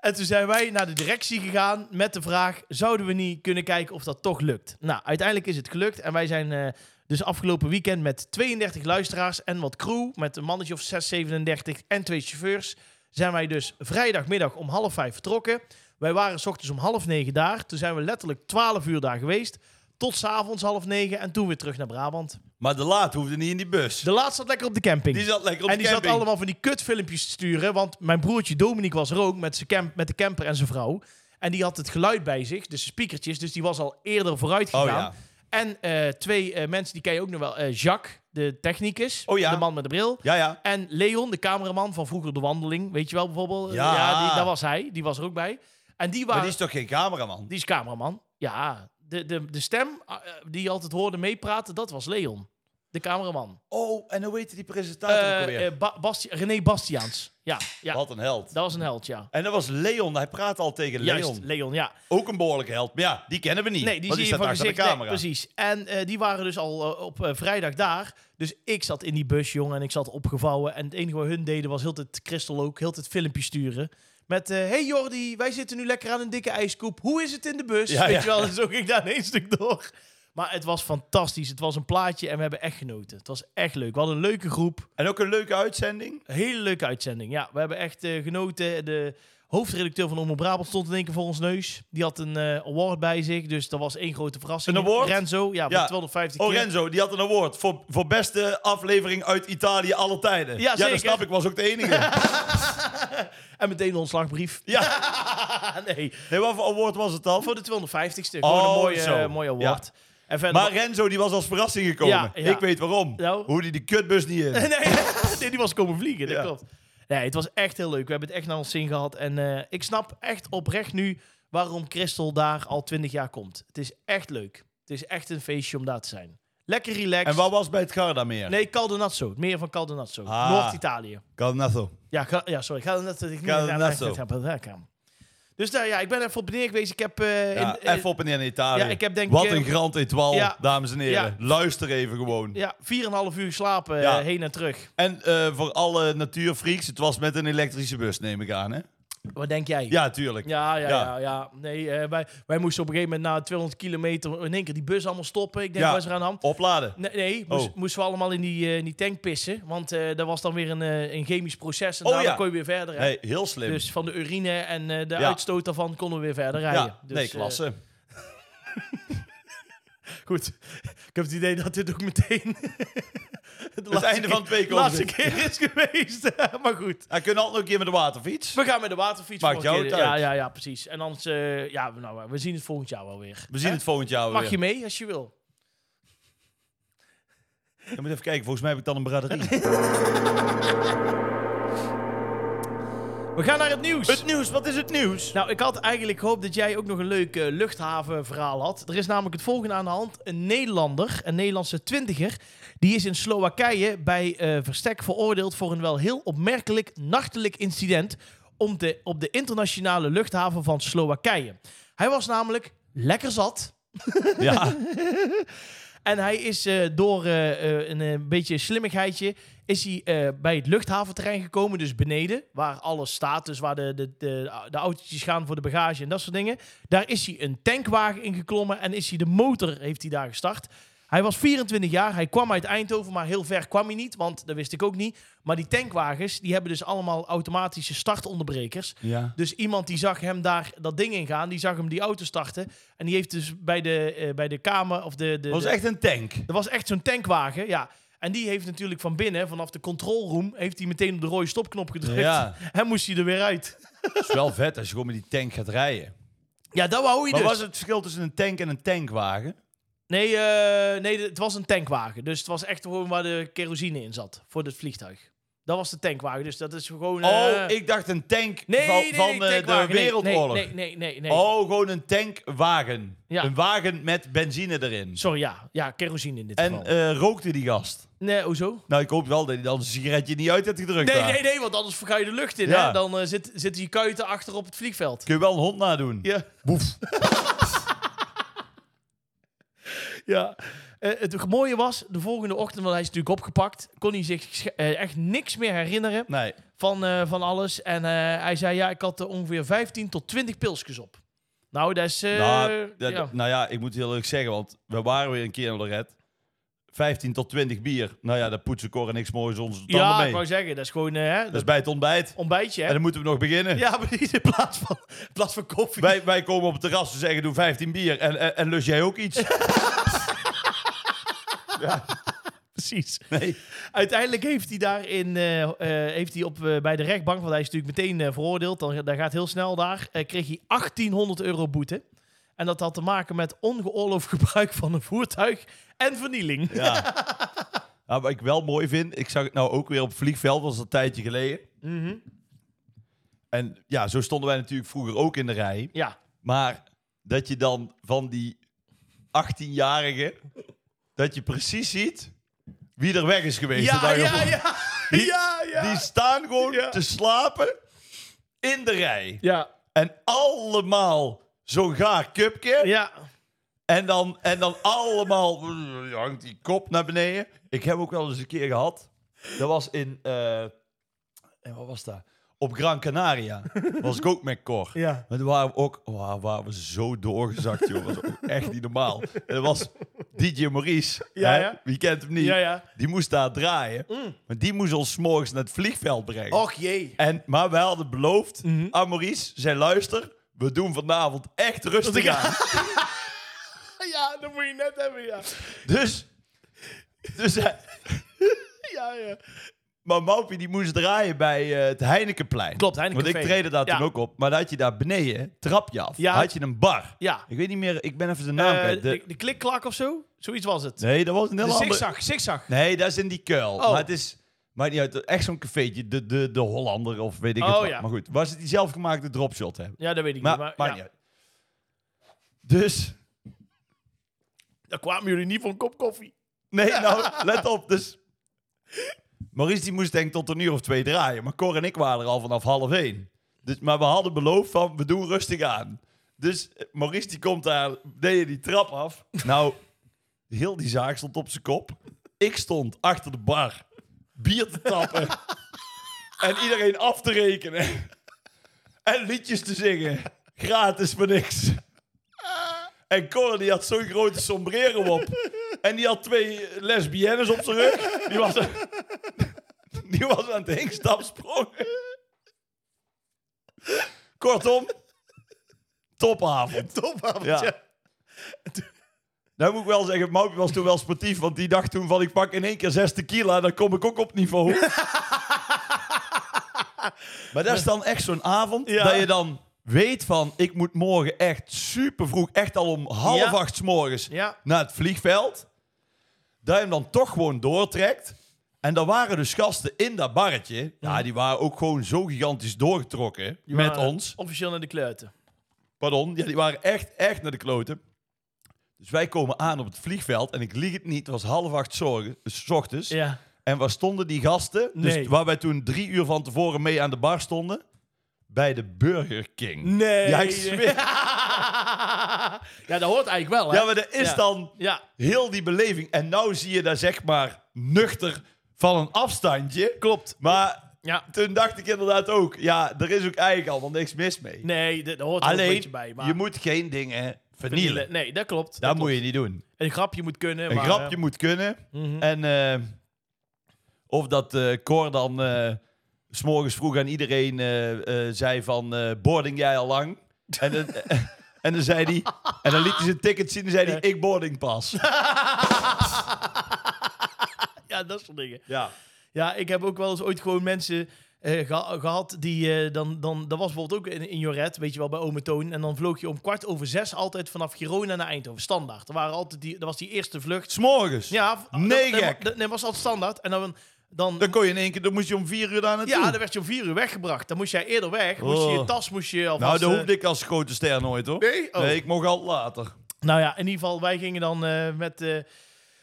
En toen zijn wij naar de directie gegaan met de vraag: zouden we niet kunnen kijken of dat toch lukt? Nou, uiteindelijk is het gelukt. En wij zijn eh, dus afgelopen weekend met 32 luisteraars en wat crew, met een mannetje of 6, 37 en twee chauffeurs, zijn wij dus vrijdagmiddag om half vijf vertrokken. Wij waren s ochtends om half negen daar. Toen zijn we letterlijk 12 uur daar geweest. Tot s avonds half negen en toen weer terug naar Brabant.
Maar de laat hoefde niet in die bus.
De laatste zat lekker op de camping.
Die zat lekker op
en
de
die zat
camping.
allemaal van die kutfilmpjes te sturen. Want mijn broertje Dominique was er ook met, zijn camp, met de camper en zijn vrouw. En die had het geluid bij zich, dus de speakertjes. Dus die was al eerder vooruit
Oh
gegaan.
ja.
En eh, twee eh, mensen, die ken je ook nog wel. eh, Jacques, de technicus.
Oh ja.
De man met de bril.
Ja, ja.
En Leon, de cameraman van vroeger De Wandeling. Weet je wel bijvoorbeeld?
Ja.
die, dat was hij. Die was er ook bij. En die
Maar
waren...
die is toch geen cameraman?
Die is cameraman. Ja, de, de, de stem eh, die je altijd hoorde meepraten, dat was Leon. De cameraman.
Oh, en hoe heette die presentator ook
Eh,
alweer?
eh, Ba- Basti- René Bastiaans. Ja, ja,
Wat een held.
dat was een held, ja.
En dat was Leon. Hij praat al tegen Leon.
Juist, Leon, ja.
Ook een behoorlijke held. Maar ja, die kennen we niet.
Nee, die
want
zie je
staat
van
achter
gezicht.
de camera.
Nee, precies. En eh, die waren dus al eh, op eh, vrijdag daar. Dus ik zat in die bus, jongen, en ik zat opgevouwen. En het enige wat hun deden was heel het Christel ook, heel het filmpje sturen. Met, eh, hey Jordi, wij zitten nu lekker aan een dikke ijskoep. Hoe is het in de bus?
Ja,
Weet
ja.
je wel, en zo ging ik daar een stuk door. Maar het was fantastisch. Het was een plaatje en we hebben echt genoten. Het was echt leuk. We hadden een leuke groep.
En ook een leuke uitzending.
Een Hele leuke uitzending. Ja, we hebben echt eh, genoten. De hoofdredacteur van Omroep Brabant stond in één keer voor ons neus. Die had een eh, award bij zich, dus dat was één grote verrassing.
Een award?
Renzo, ja, voor
Ja.
250
Oh,
keer.
Renzo, die had een award voor, voor beste aflevering uit Italië alle tijden. ja,
zeker.
dat snap ik. Was ook
(laughs)
de enige.
En meteen een ontslagbrief.
ja.
(laughs) nee,
Nee, wat voor award was het dan?
voor de 250ste. Gewoon een
Oh,
mooie,
zo.
eh, mooie award. En verder...
Maar Renzo die was als verrassing gekomen.
Ja, ja.
Ik weet waarom.
Nou.
Hoe die de kutbus
(laughs)
niet in.
nee, (laughs) nee, die was komen vliegen, dat
Ja.
klopt. Nee, het was echt heel leuk. We hebben het echt naar ons zin gehad. En eh, ik snap echt oprecht nu waarom Christel daar al 20 jaar komt. Het is echt leuk. Het is echt een feestje om daar te zijn. Lekker relaxed.
En wat was bij het Gardameer?
Nee, Caldonazzo. Het meer van Caldonazzo.
Ah.
Noord-Italië.
Gardameer.
Ja, ga- ja, sorry. Ga net ik
Caldonazzo.
Dus daar, ja, ik ben even op neer geweest. Ik heb... eh,
Ja,
in- eh,
even op en neer in Italië.
ja, ik heb denk
Wat
ik, eh,
een grand etoile,
ja.
dames en heren. Luister even gewoon.
eh, ja, 4,5 uur slapen
Ja.
eh, heen en terug.
En eh, voor alle natuurfreaks, het was met een elektrische bus, neem ik aan, hè?
Wat denk jij?
Ja, tuurlijk.
Ja, ja, ja.
Ja.
ja, Nee, eh, wij, wij moesten op een gegeven moment na 200 kilometer in één keer die bus allemaal stoppen. Ik denk,
Ja.
wat is er aan de hand?
Opladen.
Nee, nee moest-
Oh.
moesten we allemaal in die, eh, in die tank pissen. Want eh dat was dan weer een, eh, een chemisch proces. En
Oh,
daarna
ja.
kon je weer verder. hè.
Nee, heel slim.
Dus van de urine en eh, de
Ja.
uitstoot daarvan konden we weer verder rijden.
ja,
Dus,
nee,
eh,
klasse.
Goed, (laughs) ik heb het idee dat dit ook meteen (laughs) het,
einde van het week
de laatste
is.
keer is geweest. (laughs) maar goed,
Hij kunnen altijd nog een keer met de waterfiets.
Dus we gaan met de waterfiets.
Maakt
volgende
jou
keer.
het
Ja,
uit.
ja, ja, precies. En anders, eh, ja, nou, we zien het volgend jaar wel weer.
We zien
Hè?
het volgend jaar weer.
Mag je mee als je wil.
Je moet even kijken, volgens mij heb ik dan een braderie.
We gaan naar (laughs) het nieuws.
Het nieuws, wat is het nieuws?
Nou, ik had eigenlijk gehoopt dat jij ook nog een leuk eh, luchthavenverhaal had. Er is namelijk het volgende aan de hand. Een Nederlander, een Nederlandse twintiger, die is in Slowakije bij eh, Verstek veroordeeld voor een wel heel opmerkelijk nachtelijk incident om de, op de internationale luchthaven van Slowakije. Hij was namelijk lekker zat. (laughs)
Ja,
En hij is eh, door eh, eh, een, eh, beetje slimmigheidje is hij, eh, bij het luchthaventerrein gekomen. Dus beneden, waar alles staat. Dus waar de, de, de, de autootjes gaan voor de bagage en dat soort dingen. Daar is hij een tankwagen ingeklommen en is hij de motor heeft hij daar gestart. Hij was 24 jaar, hij kwam uit Eindhoven, maar heel ver kwam hij niet, want dat wist ik ook niet. Maar die tankwagens, die hebben dus allemaal automatische startonderbrekers.
ja.
Dus iemand die zag hem daar dat ding in gaan, die zag hem die auto starten. En die heeft dus bij de, eh, bij de kamer of de... de
Dat was
de-
echt een tank.
dat was echt zo'n tankwagen, ja. En die heeft natuurlijk van binnen, vanaf de controlroom, heeft hij meteen op de rode stopknop gedrukt.
Ja.
(laughs) En moest hij er weer uit.
Het is wel vet als je gewoon met die tank gaat rijden.
Ja, dat wou hij
Wat
dus.
was het verschil tussen een tank en een tankwagen?
Nee, eh, nee, het was een tankwagen. Dus het was echt gewoon waar de kerosine in zat voor het vliegtuig. Dat was de tankwagen, dus dat is gewoon...
Oh,
eh,
ik dacht een tank
nee,
van,
nee, nee,
van eh, de
tankwagen. Nee,
Wereldoorlog.
Nee, nee, nee, nee. nee.
Oh, gewoon een tankwagen.
Ja.
Een wagen met benzine erin.
Sorry, ja. Ja, kerosine in dit
En
geval.
eh, rookte die gast?
nee, hoezo?
Nou, ik hoop wel dat hij dan zijn sigaretje niet uit heeft gedrukt.
Nee,
daar.
nee, nee, want anders ga je de lucht in.
Ja.
Hè? Dan eh, zit, zitten die kuiten achter op het vliegveld.
Kun je wel een hond nadoen?
Ja.
Boef.
Ja. Eh, het mooie was, de volgende ochtend, want hij is natuurlijk opgepakt, kon hij zich sch- eh, echt niks meer herinneren
Nee.
van, eh, van alles. En eh, hij zei, ja, ik had eh, ongeveer 15 tot 20 pilsjes op. Nou, dat is... eh,
nou, dat-
ja.
nou ja, ik moet heel eerlijk zeggen, want we waren weer een keer in Lorette. 15 tot 20 bier. Nou ja, daar poetsen Cor en niks moois onze tanden
ja,
mee.
ik wou zeggen, dat is gewoon eh, hè,
Dat is
dat
bij het ontbijt.
ontbijtje,
En
hè?
dan moeten we nog beginnen.
Ja, (laughs) precies, in plaats van, in plaats van koffie.
Wij, wij komen op het terras en zeggen, doe 15 bier. En, en, en lus jij ook iets?
(laughs) (laughs) Precies.
Nee.
Uiteindelijk heeft hij daarin, eh, eh, heeft hij op, eh, bij de rechtbank, want hij is natuurlijk meteen eh, veroordeeld, dan, dat gaat heel snel daar, eh, kreeg hij 1800 euro boete. En dat had te maken met ongeoorloofd (laughs) gebruik van een voertuig en vernieling.
Ja.
(laughs)
Nou, wat ik wel mooi vind, ik zag het nou ook weer op vliegveld, was dat een tijdje geleden.
Mhm.
En ja, zo stonden wij natuurlijk vroeger ook in de rij.
Ja,
Maar dat je dan van die 18-jarige, dat je precies ziet wie er weg is geweest. de
ja,
dag
ja,
ervoor.
ja.
Die-
ja, ja.
Die staan gewoon
Ja.
te slapen in de rij.
ja,
En allemaal zo'n gaar cupje.
ja.
En dan, en dan allemaal (laughs) brrr, hangt die kop naar beneden. Ik heb ook wel eens een keer gehad. Dat was in. eh, eh, wat was dat? Op Gran Canaria. Was ik ook met Cor.
Ja.
Maar toen waren we ook. Wow, waren we zo doorgezakt, joh. Dat was ook echt niet normaal. En dat was DJ Maurice.
Ja,
hè?
ja.
Wie kent hem niet?
Ja, Mm. ja.
Die moest daar draaien. Maar die moest ons 's morgens naar het vliegveld brengen.
Och jee.
En, maar wij hadden beloofd
Mhm.
aan Maurice, zei luister, we doen vanavond echt rustig aan.
(laughs) Ja, dat moet je net hebben, ja.
Dus, dus hij-
Ja, ja.
maar Maupie die moest draaien bij eh, het Heinekenplein.
Klopt, Heineken
Want ik
Café.
treden daar
Ja.
toen ook op. Maar daar had je daar beneden, trap je af,
Ja.
had je een bar.
Ja.
Ik weet niet meer, ik ben even zijn naam
Eh,
kwijt.
de,
De-
de klikklak of zo? Zoiets was het.
Nee, dat was een
De
heel ander...
zigzag, zigzag.
Nee, dat is in die kuil.
Oh.
Maar het is, maakt niet uit, echt zo'n cafeetje, de, de, de Hollander of weet ik
Oh,
het wat.
ja.
Maar goed, was het die zelfgemaakte dropshot hebben?
Ja, dat weet ik
Maar,
niet. Maar,
maakt
ja.
niet uit. Dus...
Daar kwamen jullie niet voor een kop koffie. (laughs)
Nee, nou, let op. Dus Maurice die moest denk ik tot een uur of twee draaien. Maar Cor en ik waren er al vanaf half één. Dus, maar we hadden beloofd van, we doen rustig aan. Dus eh, Maurice die komt daar, deed je die trap af. Nou, heel die zaak stond op zijn kop. Ik stond achter de bar, bier te tappen. en iedereen af te rekenen. en liedjes te zingen. Gratis voor niks. En Cor die had zo'n grote sombrero op. En die had twee lesbiennes op zijn rug. Die was, die was aan het hinkstapsprongen. Kortom, topavond.
Topavond,
Ja. Nou moet ik wel zeggen, Maupie was toen wel sportief. Want die dacht toen van, ik pak in één keer zes tequila. Dan kom ik ook
(laughs)
op niveau. maar dat is dan echt zo'n avond
Ja.
dat je dan weet van... Ik moet morgen echt super vroeg, echt al om half
Ja.
acht 's morgens
Ja.
naar het vliegveld. Dat je hem dan toch gewoon doortrekt. En daar waren dus gasten in dat barretje. Ja, die waren ook gewoon zo gigantisch doorgetrokken
Die
met
waren
ons.
eh, Officieel naar de kleuten.
Pardon, ja, die waren echt, echt naar de kloten. Dus wij komen aan op het vliegveld en ik lieg het niet, het was half acht zorgen, s ochtends.
Ja.
En waar stonden die gasten?
Nee.
Dus waar wij toen drie uur van tevoren mee aan de bar stonden? Bij de Burger King.
Nee.
Ja, ik zweer.
(laughs) ja, dat hoort eigenlijk wel, hè?
Ja, maar er is
Ja.
dan
Ja.
heel die beleving. En nou zie je daar zeg maar nuchter van een afstandje.
Klopt.
Maar
Ja.
toen dacht ik inderdaad ook, ja, er is ook eigenlijk allemaal niks mis mee.
Nee, dat dat hoort er een beetje
Alleen,
bij. Maar
je moet geen dingen vernielen.
vernielen. Nee, dat klopt.
Dat,
klopt.
moet je niet doen.
Een grapje moet kunnen.
Een
maar,
grapje
eh,
moet kunnen. En
Mhm.
eh, of dat eh Cor dan eh, s s'morgens vroeg aan iedereen eh, eh, zei van... eh boarding jij al lang? En, dan- (laughs) en dan zei hij... En dan liet hij zijn ticket zien en zei hij... Ik boarding pas.
ja, dat soort dingen.
ja.
Ja, ik heb ook wel eens ooit gewoon mensen eh, geha- gehad die eh, dan, dan... Dat was bijvoorbeeld ook in, in Joret, weet je wel, bij Ome Toon. En dan vloog je om kwart over zes altijd vanaf Girona naar Eindhoven. Standaard. Er waren altijd die, dat was die eerste vlucht.
S'morgens.
Ja, v-
Nee,
dat- dat-
gek.
Dat, dat was altijd standaard. En dan... dan
Dan kon je in één keer... Dan moest je om vier uur daar naartoe.
ja, dan werd je om vier uur weggebracht. Dan moest jij eerder weg. Moest je je
Oh.
tas moest je
nou,
alvast...
dat
eh,
hoefde ik als grote ster nooit, hoor.
Nee? Oh.
ik mocht al later.
Nou ja, in ieder geval, wij gingen dan eh, met... eh,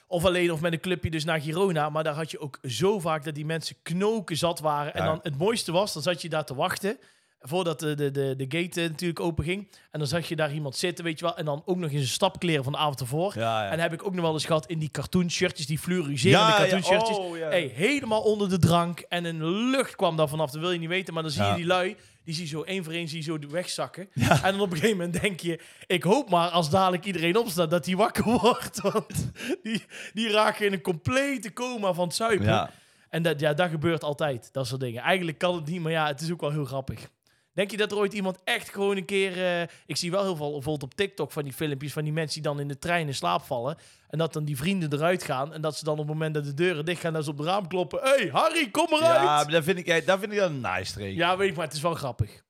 of alleen of met een clubje dus naar Girona. Maar daar had je ook zo vaak dat die mensen knoken zat waren. En
Ja.
dan het mooiste was, dan zat je daar te wachten. Voordat de, de, de, de gate eh, natuurlijk open ging. En dan zag je daar iemand zitten, weet je wel. En dan ook nog in zijn stapkleren van de avond ervoor.
Ja, ja.
En heb ik ook nog wel eens gehad in die cartoon shirtjes, die fluoriserende
Ja, ja,
cartoon shirtjes.
oh, ja.
Hey, helemaal onder de drank. En een lucht kwam daar vanaf, dat wil je niet weten. Maar dan zie je
Ja.
die lui, die zie je zo één voor één zie je zo wegzakken. En dan op een gegeven moment denk je, ik hoop maar als dadelijk iedereen opstaat, dat die wakker (laughs) wordt. Want die, die raken in een complete coma van het zuipen.
Ja.
En dat, ja, dat gebeurt altijd, dat soort dingen. Eigenlijk kan het niet, maar ja, het is ook wel heel grappig. Denk je dat er ooit iemand echt gewoon een keer... eh, ik zie wel heel veel, bijvoorbeeld op TikTok van die filmpjes... van die mensen die dan in de trein in slaap vallen... en dat dan die vrienden eruit gaan... en dat ze dan op het moment dat de deuren dicht gaan... dat ze op de raam kloppen. Hé, hey, Harry, kom eruit!
Ja,
Ja,
maar dat vind ik, dat vind ik dan een nice streek.
weet ik, maar het is wel grappig.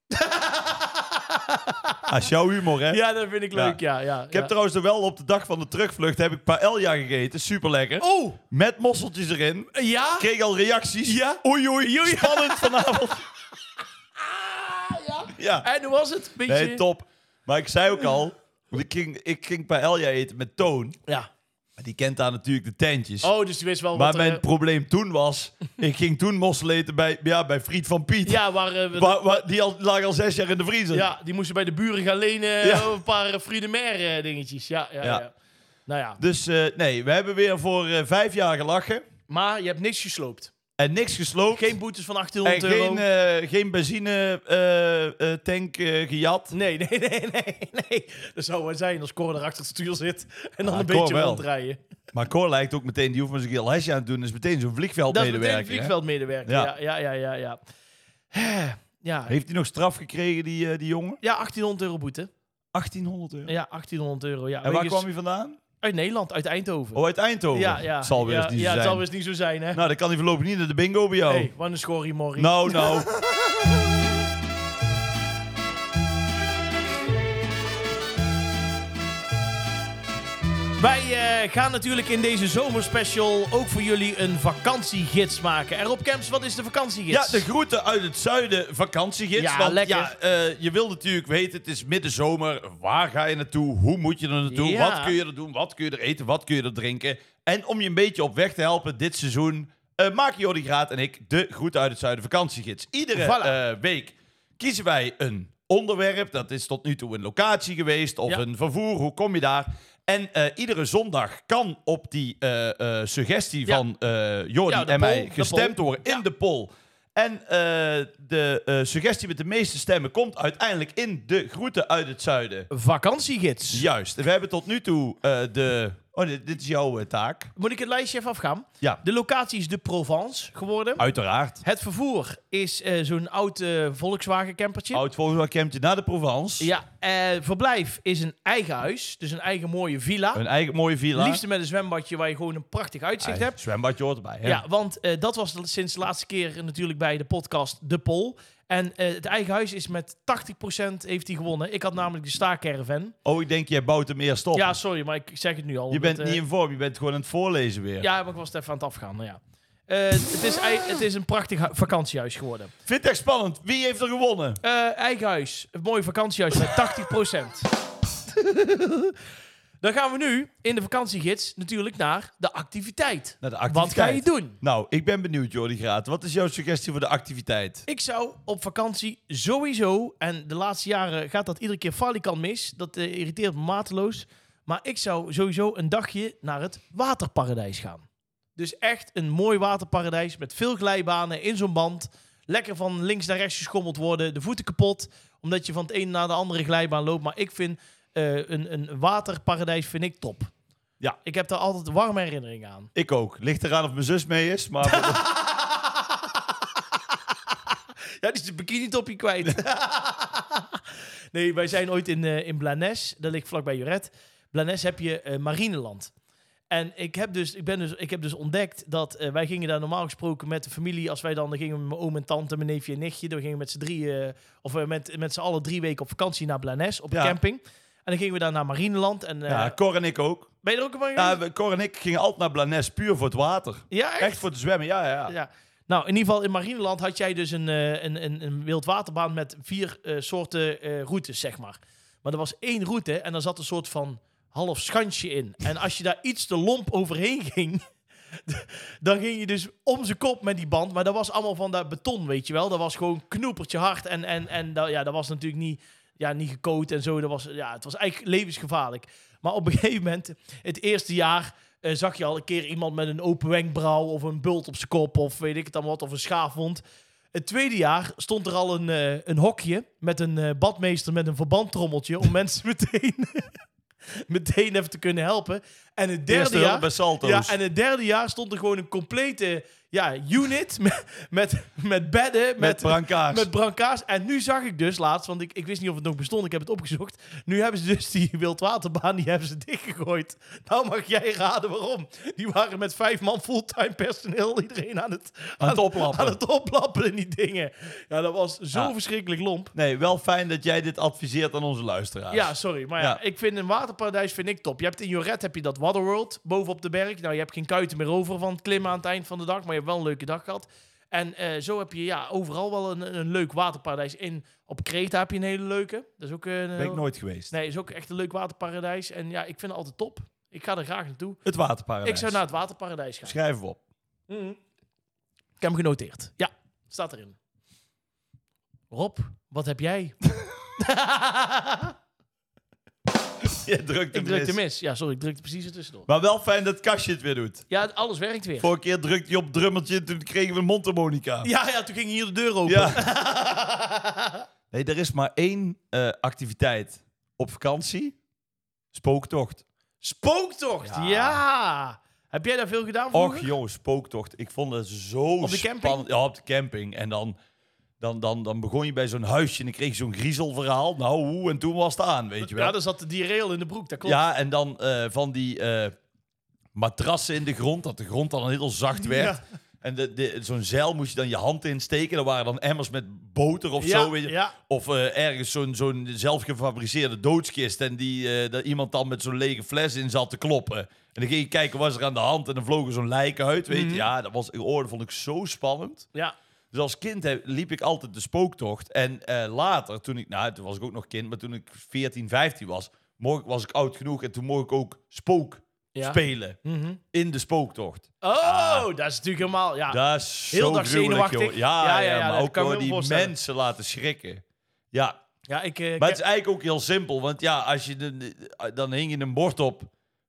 Als jouw humor, hè?
Ja, dat vind ik leuk, ja. ja,
Ik heb trouwens er wel op de dag van de terugvlucht heb ik paella gegeten. Super lekker.
Oh,
Met mosseltjes erin.
ja?
Ik kreeg al reacties. Ja? Oei, oei, Spannend vanavond.
ja? (laughs)
ja.
En hoe was het? Beetje...
Nee, top. Maar ik zei ook al, want ik ging, ik ging paella eten met Toon.
Ja.
Maar Die kent daar natuurlijk de tentjes.
Oh, dus je wist wel
maar
wat...
mijn
eh,
probleem toen was, ik ging toen mossel eten bij, ja, bij Friet van Piet.
ja, waar... eh, we-
Waar- waar- die al, lag al zes jaar in de vriezer.
Ja, die moesten bij de buren gaan lenen. eh,
Ja.
Een paar Friedemair eh, dingetjes. Ja, ja, ja.
Ja.
Nou ja,
Dus eh, nee, we hebben weer voor eh, vijf jaar gelachen.
maar je hebt niks gesloopt.
En niks gesloopt.
Geen boetes van
En
800 euro.
geen, eh, geen benzine eh, eh, tank eh, gejat.
Nee, nee, nee, nee, nee. Dat zou wel zijn als Cor er achter het stuur zit en dan
Ah,
een
Cor
beetje
wel.
rondrijden.
Maar Cor lijkt ook meteen, die hoeft maar eens een keer een lesje aan te doen. Is meteen zo'n
Dat is meteen
vliegveldmedewerker.
een
hè?
vliegveldmedewerker. Ja,
Ja.
ja, ja, ja. Ja, Eh, ja.
Heeft hij nog straf gekregen, die, eh, die jongen?
ja 1800 euro boete.
1800 euro.
Ja, 1800 euro. Ja.
En waar
Wegens-
kwam hij vandaan?
Uit Nederland, uit Eindhoven.
Oh, uit Eindhoven.
ja, ja.
Het zal weer
ja,
eens niet
ja,
zo
het
zijn.
zal weer eens niet zo zijn, hè?
Nou, dan kan hij voorlopig niet naar de bingo bij jou.
hey, wat een schorrie morrie.
Nou, nou.
Wij eh, gaan natuurlijk in deze zomerspecial ook voor jullie een vakantiegids maken. En Rob Kemps, wat is de
ja,
vakantiegids?
de groeten uit het zuiden, vakantiegids.
Ja,
want,
lekker.
Ja, eh, je wil natuurlijk weten, het is middenzomer. Waar ga je naartoe? Hoe moet je er naartoe?
Ja.
Wat kun je er doen? Wat kun je er eten? Wat kun je er drinken? En om je een beetje op weg te helpen dit seizoen... eh maken Jordi Graat en ik de groeten uit het zuiden vakantiegids. Iedere
Voilà.
eh, week kiezen wij een onderwerp. Dat is tot nu toe een locatie geweest of
Ja.
een vervoer. Hoe kom je daar? En eh, iedere zondag kan op die eh, eh, suggestie
Ja.
van eh Jordi
Ja, de
en
poll,
mij
de
gestemd
poll.
worden in de poll. En eh, de eh, suggestie met de meeste stemmen komt uiteindelijk in de groeten uit het zuiden.
vakantiegids.
Juist. En We hebben tot nu toe eh, de... Oh, dit, dit is jouw eh, taak.
Moet ik het lijstje even afgaan?
Ja.
De locatie is de Provence geworden.
Uiteraard.
Het vervoer is eh, zo'n oud eh, Volkswagen campertje.
Oud volgens campje naar de Provence.
Ja, eh, verblijf is een eigen huis, dus een eigen mooie villa.
Een eigen mooie villa.
Liefst met een zwembadje waar je gewoon een prachtig uitzicht
Eigen
hebt.
Zwembadje hoort erbij.
Ja,
hè?
want eh, dat was de- sinds de laatste keer natuurlijk bij de podcast De Pol. En eh, het eigen huis is met 80% heeft hij gewonnen. Ik had namelijk de staarcaravan.
Oh, ik denk, jij bouwt hem eerst op.
Ja, sorry, maar ik zeg het nu al.
je
omdat,
bent
eh,
niet in vorm, je bent gewoon aan het voorlezen weer.
Ja, maar ik was het even aan het afgaan. nou ja. Eh, het, is, ei- het is een prachtig hu- vakantiehuis geworden.
Vind het echt spannend. Wie heeft er gewonnen?
Eh, eigen huis. Een mooi vakantiehuis met 80%.
(laughs)
Dan gaan we nu in de vakantiegids natuurlijk naar de activiteit.
Naar de
Wat ga je doen?
Nou, ik ben benieuwd, Jordi Graat. Wat is jouw suggestie voor de activiteit?
Ik zou op vakantie sowieso, en de laatste jaren gaat dat iedere keer falikant mis. Dat eh, irriteert me mateloos. Maar ik zou sowieso een dagje naar het waterparadijs gaan. Dus echt een mooi waterparadijs met veel glijbanen in zo'n band. Lekker van links naar rechts geschommeld worden, de voeten kapot. Omdat je van het ene naar de andere glijbaan loopt. Maar ik vind eh, een, een waterparadijs vind ik top.
Ja.
Ik heb daar altijd warme herinneringen aan.
Ik ook. Ligt eraan of mijn zus mee
(laughs)
is, maar...
Ja, die is de bikini topje kwijt. (laughs) nee, wij zijn ooit in, eh in Blanes. Dat ligt vlakbij Juret. Blanes heb je eh, Marineland. En ik heb, dus, ik, ben dus, ik heb dus ontdekt dat eh, wij gingen daar normaal gesproken met de familie. Als wij dan, dan gingen we met mijn oom en tante, mijn neefje en nichtje. Dan gingen we met z'n drieën, eh, of eh, met, met z'n allen drie weken op vakantie naar Blanes op
Ja.
een camping. En dan gingen we daar naar Marineland. En, eh,
ja, Cor en ik ook.
Ben je er ook een van geweest?
Ja, we- Cor en ik gingen altijd naar Blanes, puur voor het water.
Ja,
Echt voor het zwemmen, ja, ja. ja.
Ja. Nou, in ieder geval in Marineland had jij dus een, eh, een, een, een wildwaterbaan met vier eh, soorten eh, routes, zeg maar. Maar er was één route en daar zat een soort van half schansje in. En als je daar iets te lomp overheen ging, dan ging je dus om zijn kop met die band. Maar dat was allemaal van dat beton, weet je wel. Dat was gewoon knoepertje hard en, en, en dat, ja, dat was natuurlijk niet, ja, niet gecoat en zo. Dat was, ja, het was eigenlijk levensgevaarlijk. Maar op een (laughs) gegeven moment, het eerste jaar, eh, zag je al een keer iemand met een open wenkbrauw of een bult op zijn kop of weet ik het dan wat, of een schaafwond. Het tweede jaar stond er al een, eh, een hokje met een eh, badmeester met een verbandtrommeltje om (laughs) mensen meteen, meteen even te kunnen helpen. En het derde
Eerste hulp
jaar...
bij Salto's.
Ja, en het derde jaar stond er gewoon een complete ja, unit (laughs) met, met, met bedden, met,
met brancards.
met brancards. En nu zag ik dus laatst, want ik, ik wist niet of het nog bestond, ik heb het opgezocht. Nu hebben ze dus die wildwaterbaan, die hebben ze dichtgegooid. Nou mag jij raden waarom. Die waren met vijf man fulltime personeel iedereen aan het,
Aan het oplappen.
aan het oplappen in die dingen. Ja, dat was zo
Ja.
verschrikkelijk lomp.
Nee, wel fijn dat jij dit adviseert aan onze luisteraars.
Ja, sorry. Maar ja,
Ja.
ik vind een waterparadijs vind ik top. Je hebt in Joret heb je dat Waterworld bovenop de berg. Nou, je hebt geen kuiten meer over van het klimmen aan het eind van de dag. Maar je hebt wel een leuke dag gehad. En eh, zo heb je ja, overal wel een, een leuk waterparadijs. In, op Kreta heb je een hele leuke. Dat is ook, een, eh,
Ben ik nooit geweest.
nee, is ook echt een leuk waterparadijs. En ja, ik vind het altijd top. Ik ga er graag naartoe.
Het waterparadijs.
Ik zou nou- naar het waterparadijs gaan.
Schrijf hem op. (laughs)
Mhm. Ik heb hem genoteerd. Ja, staat erin. Rob, wat heb
(laughs)
jij? (laughs)
Je drukt hem
ik drukte
mis.
mis. Ja, sorry, ik drukte precies ertussendoor.
Maar wel fijn dat Kastje het weer doet.
Ja, alles werkt weer.
Vorige keer drukte hij op drummeltje, toen kregen we een mondharmonica.
Ja, ja, toen ging hier de deur open.
Ja. (laughs) nee, er is maar één eh, activiteit op vakantie. Spooktocht.
Spooktocht, ja.
Ja.
Heb jij daar veel gedaan
Och
vroeger?
joh, spooktocht. Ik vond het zo
Op de camping?
spannend. Ja, op de camping. En dan, dan, dan, dan begon je bij zo'n huisje en dan kreeg je zo'n griezelverhaal. Nou, hoe, en toen was het aan, weet je wel.
ja, daar zat die rail in de broek, dat klopt.
Ja, en dan eh, van die eh, matrassen in de grond, dat de grond dan heel zacht werd. En de, de, zo'n zeil moest je dan je hand insteken. Er waren dan emmers met boter of
Ja,
zo. Weet je.
ja.
Of eh, ergens zo'n, zo'n zelfgefabriceerde doodskist. En die, eh, dat iemand dan met zo'n lege fles in zat te kloppen. En dan ging je kijken, was er aan de hand? En dan vlogen zo'n lijken uit. Weet je.
Mhm.
Ja, dat was, oh, dat vond ik zo spannend.
Ja.
Dus als kind heb- liep ik altijd de spooktocht. En eh, later, toen ik, nou, toen was ik ook nog kind, maar toen ik 14, 15 was, mocht, was ik oud genoeg en toen mocht ik ook spook
Ja.
spelen
Mhm.
in de spooktocht.
Oh, dat is natuurlijk helemaal... Ja.
Dat is
Ah, Heel
zo
dag
gruwelijk,
zenuwachtig.
joh. Ja,
Ja,
ja,
ja, ja,
maar
dat
ook
kan ik me
gewoon die
voorstellen.
mensen laten schrikken. Ja,
ja, ik... eh,
maar
ik-
het is eigenlijk ook heel simpel, want ja, als je de, de- dan hing je een bord op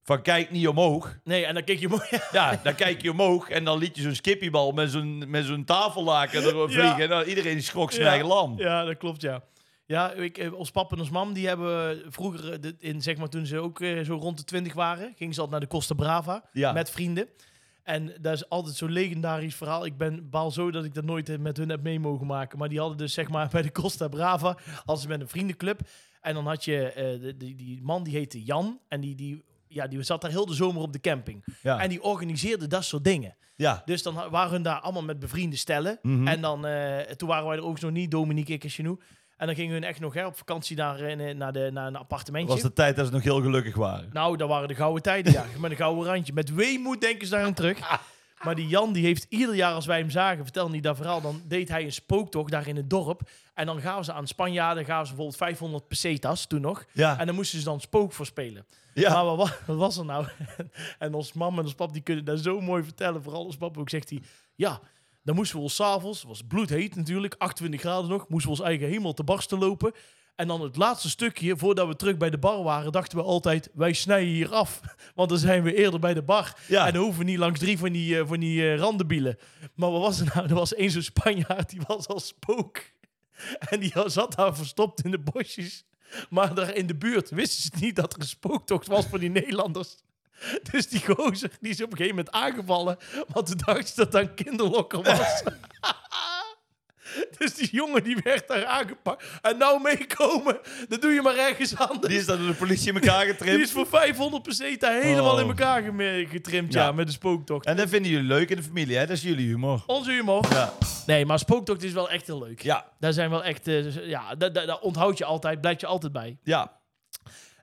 van kijk niet omhoog.
Nee, en dan keek je mooi...
Ja, dan kijk je omhoog en dan liet je zo'n skippiebal met zo'n, met zo'n
(laughs)
tafellaken er vliegen. En dan iedereen schrok zijn eigen lam.
Ja, dat klopt, ja. Ja, ik, eh, ons pap en ons mam, die hebben eh, vroeger, eh, de- in, zeg maar toen ze ook eh, zo rond de twintig waren, gingen ze altijd naar de Costa Brava
Ja.
met vrienden. En dat is altijd zo'n legendarisch verhaal. Ik ben baal zo dat ik dat nooit eh, met hun heb mee mogen maken. Maar die hadden dus zeg maar (laughs) bij de Costa Brava, als ze met een vriendenclub. En dan had je eh, de- die, die man die heette Jan. En die, die, ja, die zat daar heel de zomer op de camping.
Ja.
En die organiseerde dat soort dingen.
ja.
Dus dan ha- waren hun daar allemaal met bevriende stellen. En dan, eh, toen waren wij er ook nog niet, Dominique, ik en Chenu. En dan gingen hun echt nog hè, op vakantie naar, eh, naar, de, naar een appartementje.
was de tijd dat ze nog heel gelukkig waren.
Nou, dat waren de gouden tijden, ja. Met een gouden randje. Met weemoed denken ze daar aan terug. Maar die Jan die heeft ieder jaar als wij hem zagen, vertel niet dat verhaal, dan deed hij een spooktocht daar in het dorp. En dan gaven ze aan Spanjaarden, gaven ze bijvoorbeeld 500 pesetas toen nog.
Ja,
En dan moesten ze dan spook voor spelen.
ja.
Maar wat, wa- wat was er nou? (laughs) en ons mam en ons pap die kunnen dat zo mooi vertellen. Vooral ons pap ook zegt hij, ja, dan moesten we ons s'avonds, het was bloedheet natuurlijk, 28 graden nog, moesten we ons eigen hemel te barsten lopen. En dan het laatste stukje, voordat we terug bij de bar waren, dachten we altijd, wij snijden hier af. (laughs) Want dan zijn we eerder bij de bar.
Ja.
En dan hoeven we niet langs drie van die, eh, van die eh, randenbielen. Maar wat was er nou? Er was één zo'n Spanjaard, die was als spook. (laughs) En die zat daar verstopt in de bosjes. Maar daar in de buurt wisten ze niet dat er een spooktocht was voor die Nederlanders. Dus die gozer die is op een gegeven moment aangevallen. Want de dacht ze dat dat een kinderlokker was. dus die jongen die werd daar aangepakt. En nou meekomen, dat doe je maar ergens anders.
Die is dan door de politie in
(laughs)
elkaar
Die is
getrimd.
voor 500 peseta helemaal
Oh.
in elkaar geme- getrimd, ja,
Ja.
met de spooktocht.
En dat vinden jullie leuk in de familie, hè? Dat is jullie humor.
Onze humor.
Ja.
Nee, maar spooktocht is wel echt heel leuk.
Ja.
Daar zijn wel echt, eh, z- ja, daar, daar, daar onthoud je altijd, blijf je altijd bij.
Ja.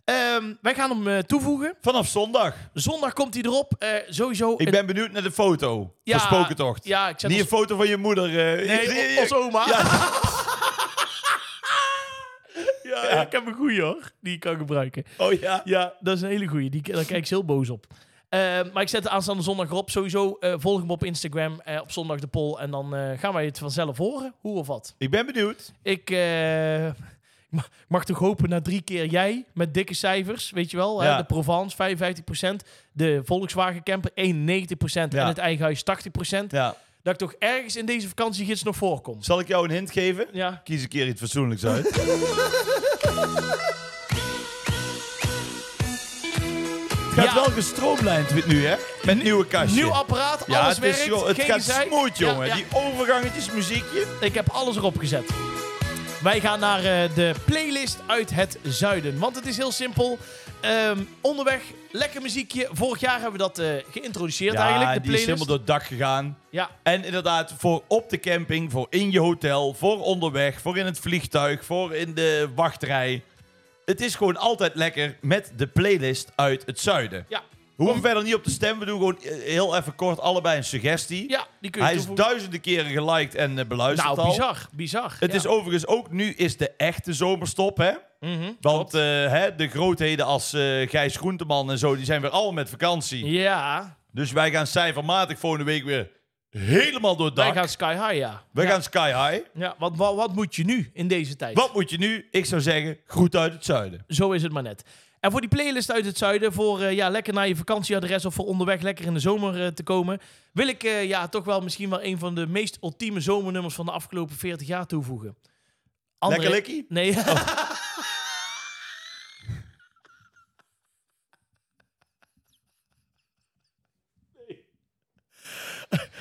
Ehm, wij gaan hem eh, toevoegen.
Vanaf zondag.
Zondag komt hij erop. Eh, sowieso.
Ik
een-
ben benieuwd naar de foto.
ja,
van Spokentocht.
Ja, ik zet
Niet een
ons,
foto van je moeder. eh. (laughs)
nee, o- ons oma. Ja. (laughs) ja, ik heb een goeie hoor. Die ik kan gebruiken.
Oh ja.
Ja, dat is een hele goeie. Die, daar kijk ik heel boos op. Ehm, maar ik zet de aanstaande zondag erop. Sowieso eh, volg hem op Instagram. eh, op zondag de poll. En dan eh, gaan wij het vanzelf horen. Hoe of wat.
Ik ben benieuwd.
Ik eh, (laughs) ik ma- mag toch hopen na drie keer jij met dikke cijfers, weet je wel. Hè?
Ja.
De Provence 55%, de Volkswagen Camper 91% en
Ja.
het eigen huis 80%.
Ja.
Dat ik toch ergens in deze vakantiegids nog voorkom.
Zal ik jou een hint geven?
Ja.
Kies een keer iets fatsoenlijks uit. Het gaat
Ja.
wel gestroomlijnd wit nu, hè? Met nieuwe kastje.
Nieuw apparaat,
ja,
alles
het,
werkt.
is, gewoon- het
geen
gaat
gezeik.
smooth,
Ja,
jongen.
ja.
Die overgangetjes, muziekje.
Ik heb alles erop gezet. Wij gaan naar eh, de playlist uit het zuiden. Want het is heel simpel. Ehm, onderweg, lekker muziekje. Vorig jaar hebben we dat eh, geïntroduceerd eigenlijk, de
die is
playlist.
helemaal door het dak gegaan.
Ja,
En inderdaad, voor op de camping, voor in je hotel, voor onderweg, voor in het vliegtuig, voor in de wachtrij. Het is gewoon altijd lekker met de playlist uit het zuiden.
ja,
We hoeven verder niet op te stemmen. We doen gewoon eh, heel even kort allebei een suggestie.
ja, die kun je
Hij is
toevoegen.
duizenden keren geliked en eh, beluisterd
Nou,
al.
bizar, bizar.
Het
ja.
is overigens ook nu is de echte zomerstop, hè?
Mhm,
Want
klopt.
eh, hè, de grootheden als eh, Gijs Groenteman en zo, die zijn weer allemaal met vakantie.
ja,
Dus wij gaan cijfermatig volgende week weer helemaal door het dak.
wij gaan sky high, ja.
We
ja.
gaan sky high.
Ja, wat, wat, moet je nu in deze tijd?
Wat moet je nu? Ik zou zeggen, groet uit het zuiden.
Zo is het maar net. En voor die playlist uit het zuiden, voor eh, ja, lekker naar je vakantieadres of voor onderweg lekker in de zomer eh, te komen, wil ik eh, ja, toch wel misschien wel een van de meest ultieme zomernummers van de afgelopen 40 jaar toevoegen. André-
Lekker likkie? Oh,
Nee.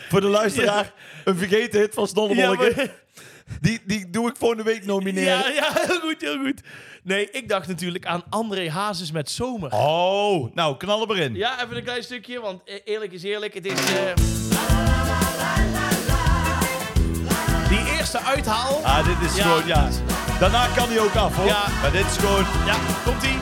Voor de luisteraar, een vergeten hit van
(laughs) Ja,
Snollebolleke.
maar-
die, die doe ik volgende week nomineren.
ja, ja, (laughs) heel goed, heel goed. Nee, ik dacht natuurlijk aan André Hazes met Zomer.
Oh, nou, knallen maar in.
Ja, even een klein stukje, want eh, eerlijk is eerlijk, het is... eh, Die eerste uithaal.
Ah, dit is
Ja.
gewoon, ja. Daarna kan hij ook af, hoor.
Ja.
Maar dit is gewoon...
Ja, komt-ie.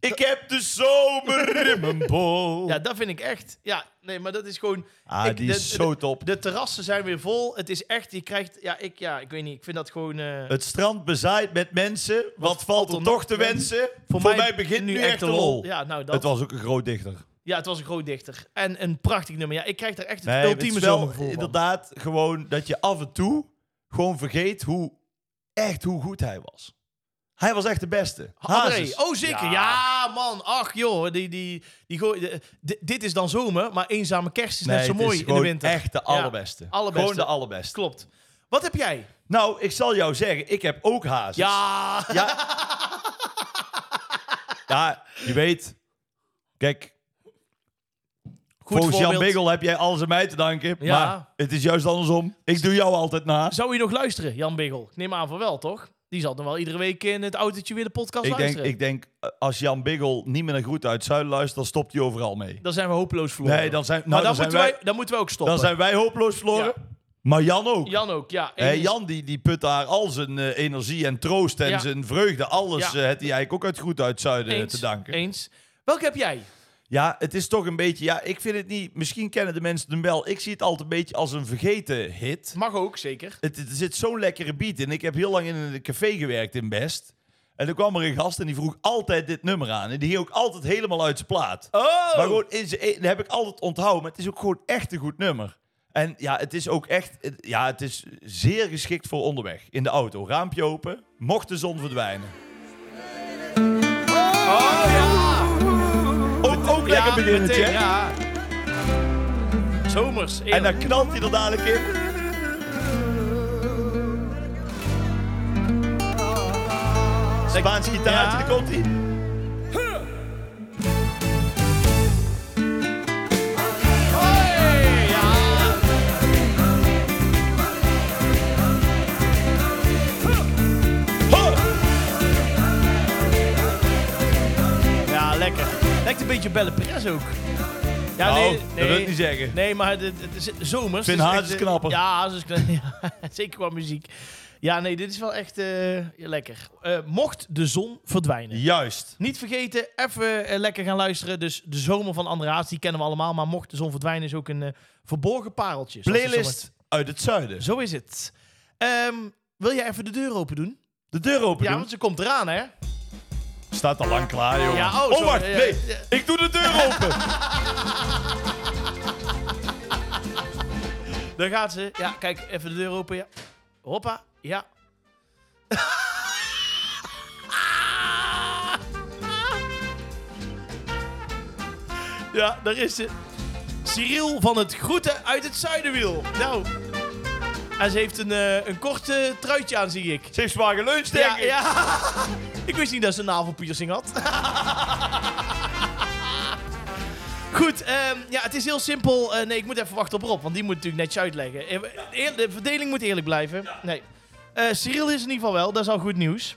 Ik heb de zomer in mijn bol.
Ja, dat vind ik echt. Ja, nee, maar dat is gewoon.
ah,
ik-
die
de-
is zo
de,
top.
de terrassen zijn weer vol. Het is echt, je krijgt. Ja, ik, ja, ik weet niet. Ik vind dat gewoon. eh,
het strand bezaaid met mensen. Wat, valt er nog te wensen? Voor, mij, begint nu echt een lol.
Ja, nou dat.
Het was ook een groot dichter.
ja, het was een groot dichter. En een prachtig nummer. Ja, ik krijg daar echt het
Nee, het
ultieme
is
zo
wel eh, inderdaad gewoon dat je af en toe gewoon vergeet hoe echt hoe goed hij was. Hij was echt de beste. Hazes.
Oh, zeker. Ja. man. Ach, joh. Die, die, die gooi- de- di- dit is dan zomer, maar eenzame kerst is net zo
het
mooi
is
in de
gewoon
winter.
Echt de allerbeste.
allerbeste.
Gewoon de allerbeste.
Klopt. Wat heb jij?
Nou, ik zal jou zeggen, ik heb ook Hazes.
Ja.
Ja, Ja, je weet. Kijk,
Goed
volgens
voorbeeld.
Jan Biggel heb jij alles aan mij te danken.
Ja.
Maar het is juist andersom. Ik doe jou altijd na.
Zou je nog luisteren, Jan Biggel? Ik neem aan van wel, toch? Die zal dan wel iedere week in het autootje weer de podcast
Ik denk,
luisteren.
ik denk, eh, als Jan Biggel niet meer naar Groet uit Zuid luistert, dan stopt hij overal mee.
Dan zijn we hopeloos verloren.
Nee, dan zijn, nou,
maar
dan
dan,
zijn
moeten
wij,
wij, dan moeten we ook stoppen.
dan zijn wij hopeloos verloren. Maar Jan ook. Jan,
Jan ook, ja. En-
Jan die, die put daar al zijn eh, energie en troost en
Ja.
zijn vreugde. Alles
Ja.
eh, had hij eigenlijk ook uit goed uit Zuiden eh, te danken.
Eens. Welke heb jij?
Ja, het is toch een beetje... Ja, ik vind het niet... Misschien kennen de mensen hem wel. Ik zie het altijd een beetje als een vergeten hit.
Mag ook, zeker.
Het, het- er zit zo'n lekkere beat in. Ik heb heel lang in een café gewerkt in Best. En er kwam er een gast en die vroeg altijd dit nummer aan. En die ging ook altijd helemaal uit zijn plaat.
Oh!
Maar gewoon, in zijn- dat heb ik altijd onthouden. Maar het is ook gewoon echt een goed nummer. En ja, het is ook echt... het- Ja, het is zeer geschikt voor onderweg. In de auto. Raampje open. Mocht de zon verdwijnen.
Oh ja!
Ook, ook lekker beginnen,
meteen,
Jack.
ja. Zomers.
En
eerlijk.
dan knalt hij er dadelijk in. Spaans
Ja.
gitaartje, daar komt hij.
Hey, ja. Ja, lekker. Lijkt een beetje Belle Perez ook. Ja,
Nou, dat wil ik niet zeggen.
Ah, Nee, maar het, het is zomers.
Vind
Het
haar
echt,
is
eh,
knapper.
Ja, haar is knapper. (laughs) Ja, zeker qua muziek. Ja, nee, dit is wel echt eh, lekker. Eh, mocht de zon verdwijnen.
Juist.
Niet vergeten, even eh, lekker gaan luisteren. Dus de zomer van André Haas, die kennen we allemaal. Maar mocht de zon verdwijnen, is ook een eh, verborgen pareltje. zoals de
Playlist uit het zuiden.
zomer- Zo is het. Ehm, wil jij even de deur open doen?
De deur open
Ja,
doen.
want ze komt eraan, hè?
Staat al lang klaar, jongen.
Ja, oh,
oh,
sorry.
wacht.
Ja,
Nee,
ja.
ik doe de deur open.
Daar gaat ze. Ja, kijk, even de deur open. Ja. Hoppa. Ja. (laughs) ja, daar is ze. Cyril van het Groeten uit het Zuidenwiel. Nou. En ze heeft een, eh, een kort eh, truitje aan, zie ik.
Ze heeft zwaar geluncht, denk
Ja,
ik.
ja. (laughs) Ik wist niet dat ze een navelpiercing had. (laughs) Goed, ehm, ja, het is heel simpel. Eh, nee, ik moet even wachten op Rob, want die moet natuurlijk netjes uitleggen. Eh, eer- de verdeling moet eerlijk blijven. Nee. Eh, Cyril is in ieder geval wel, dat is al goed nieuws.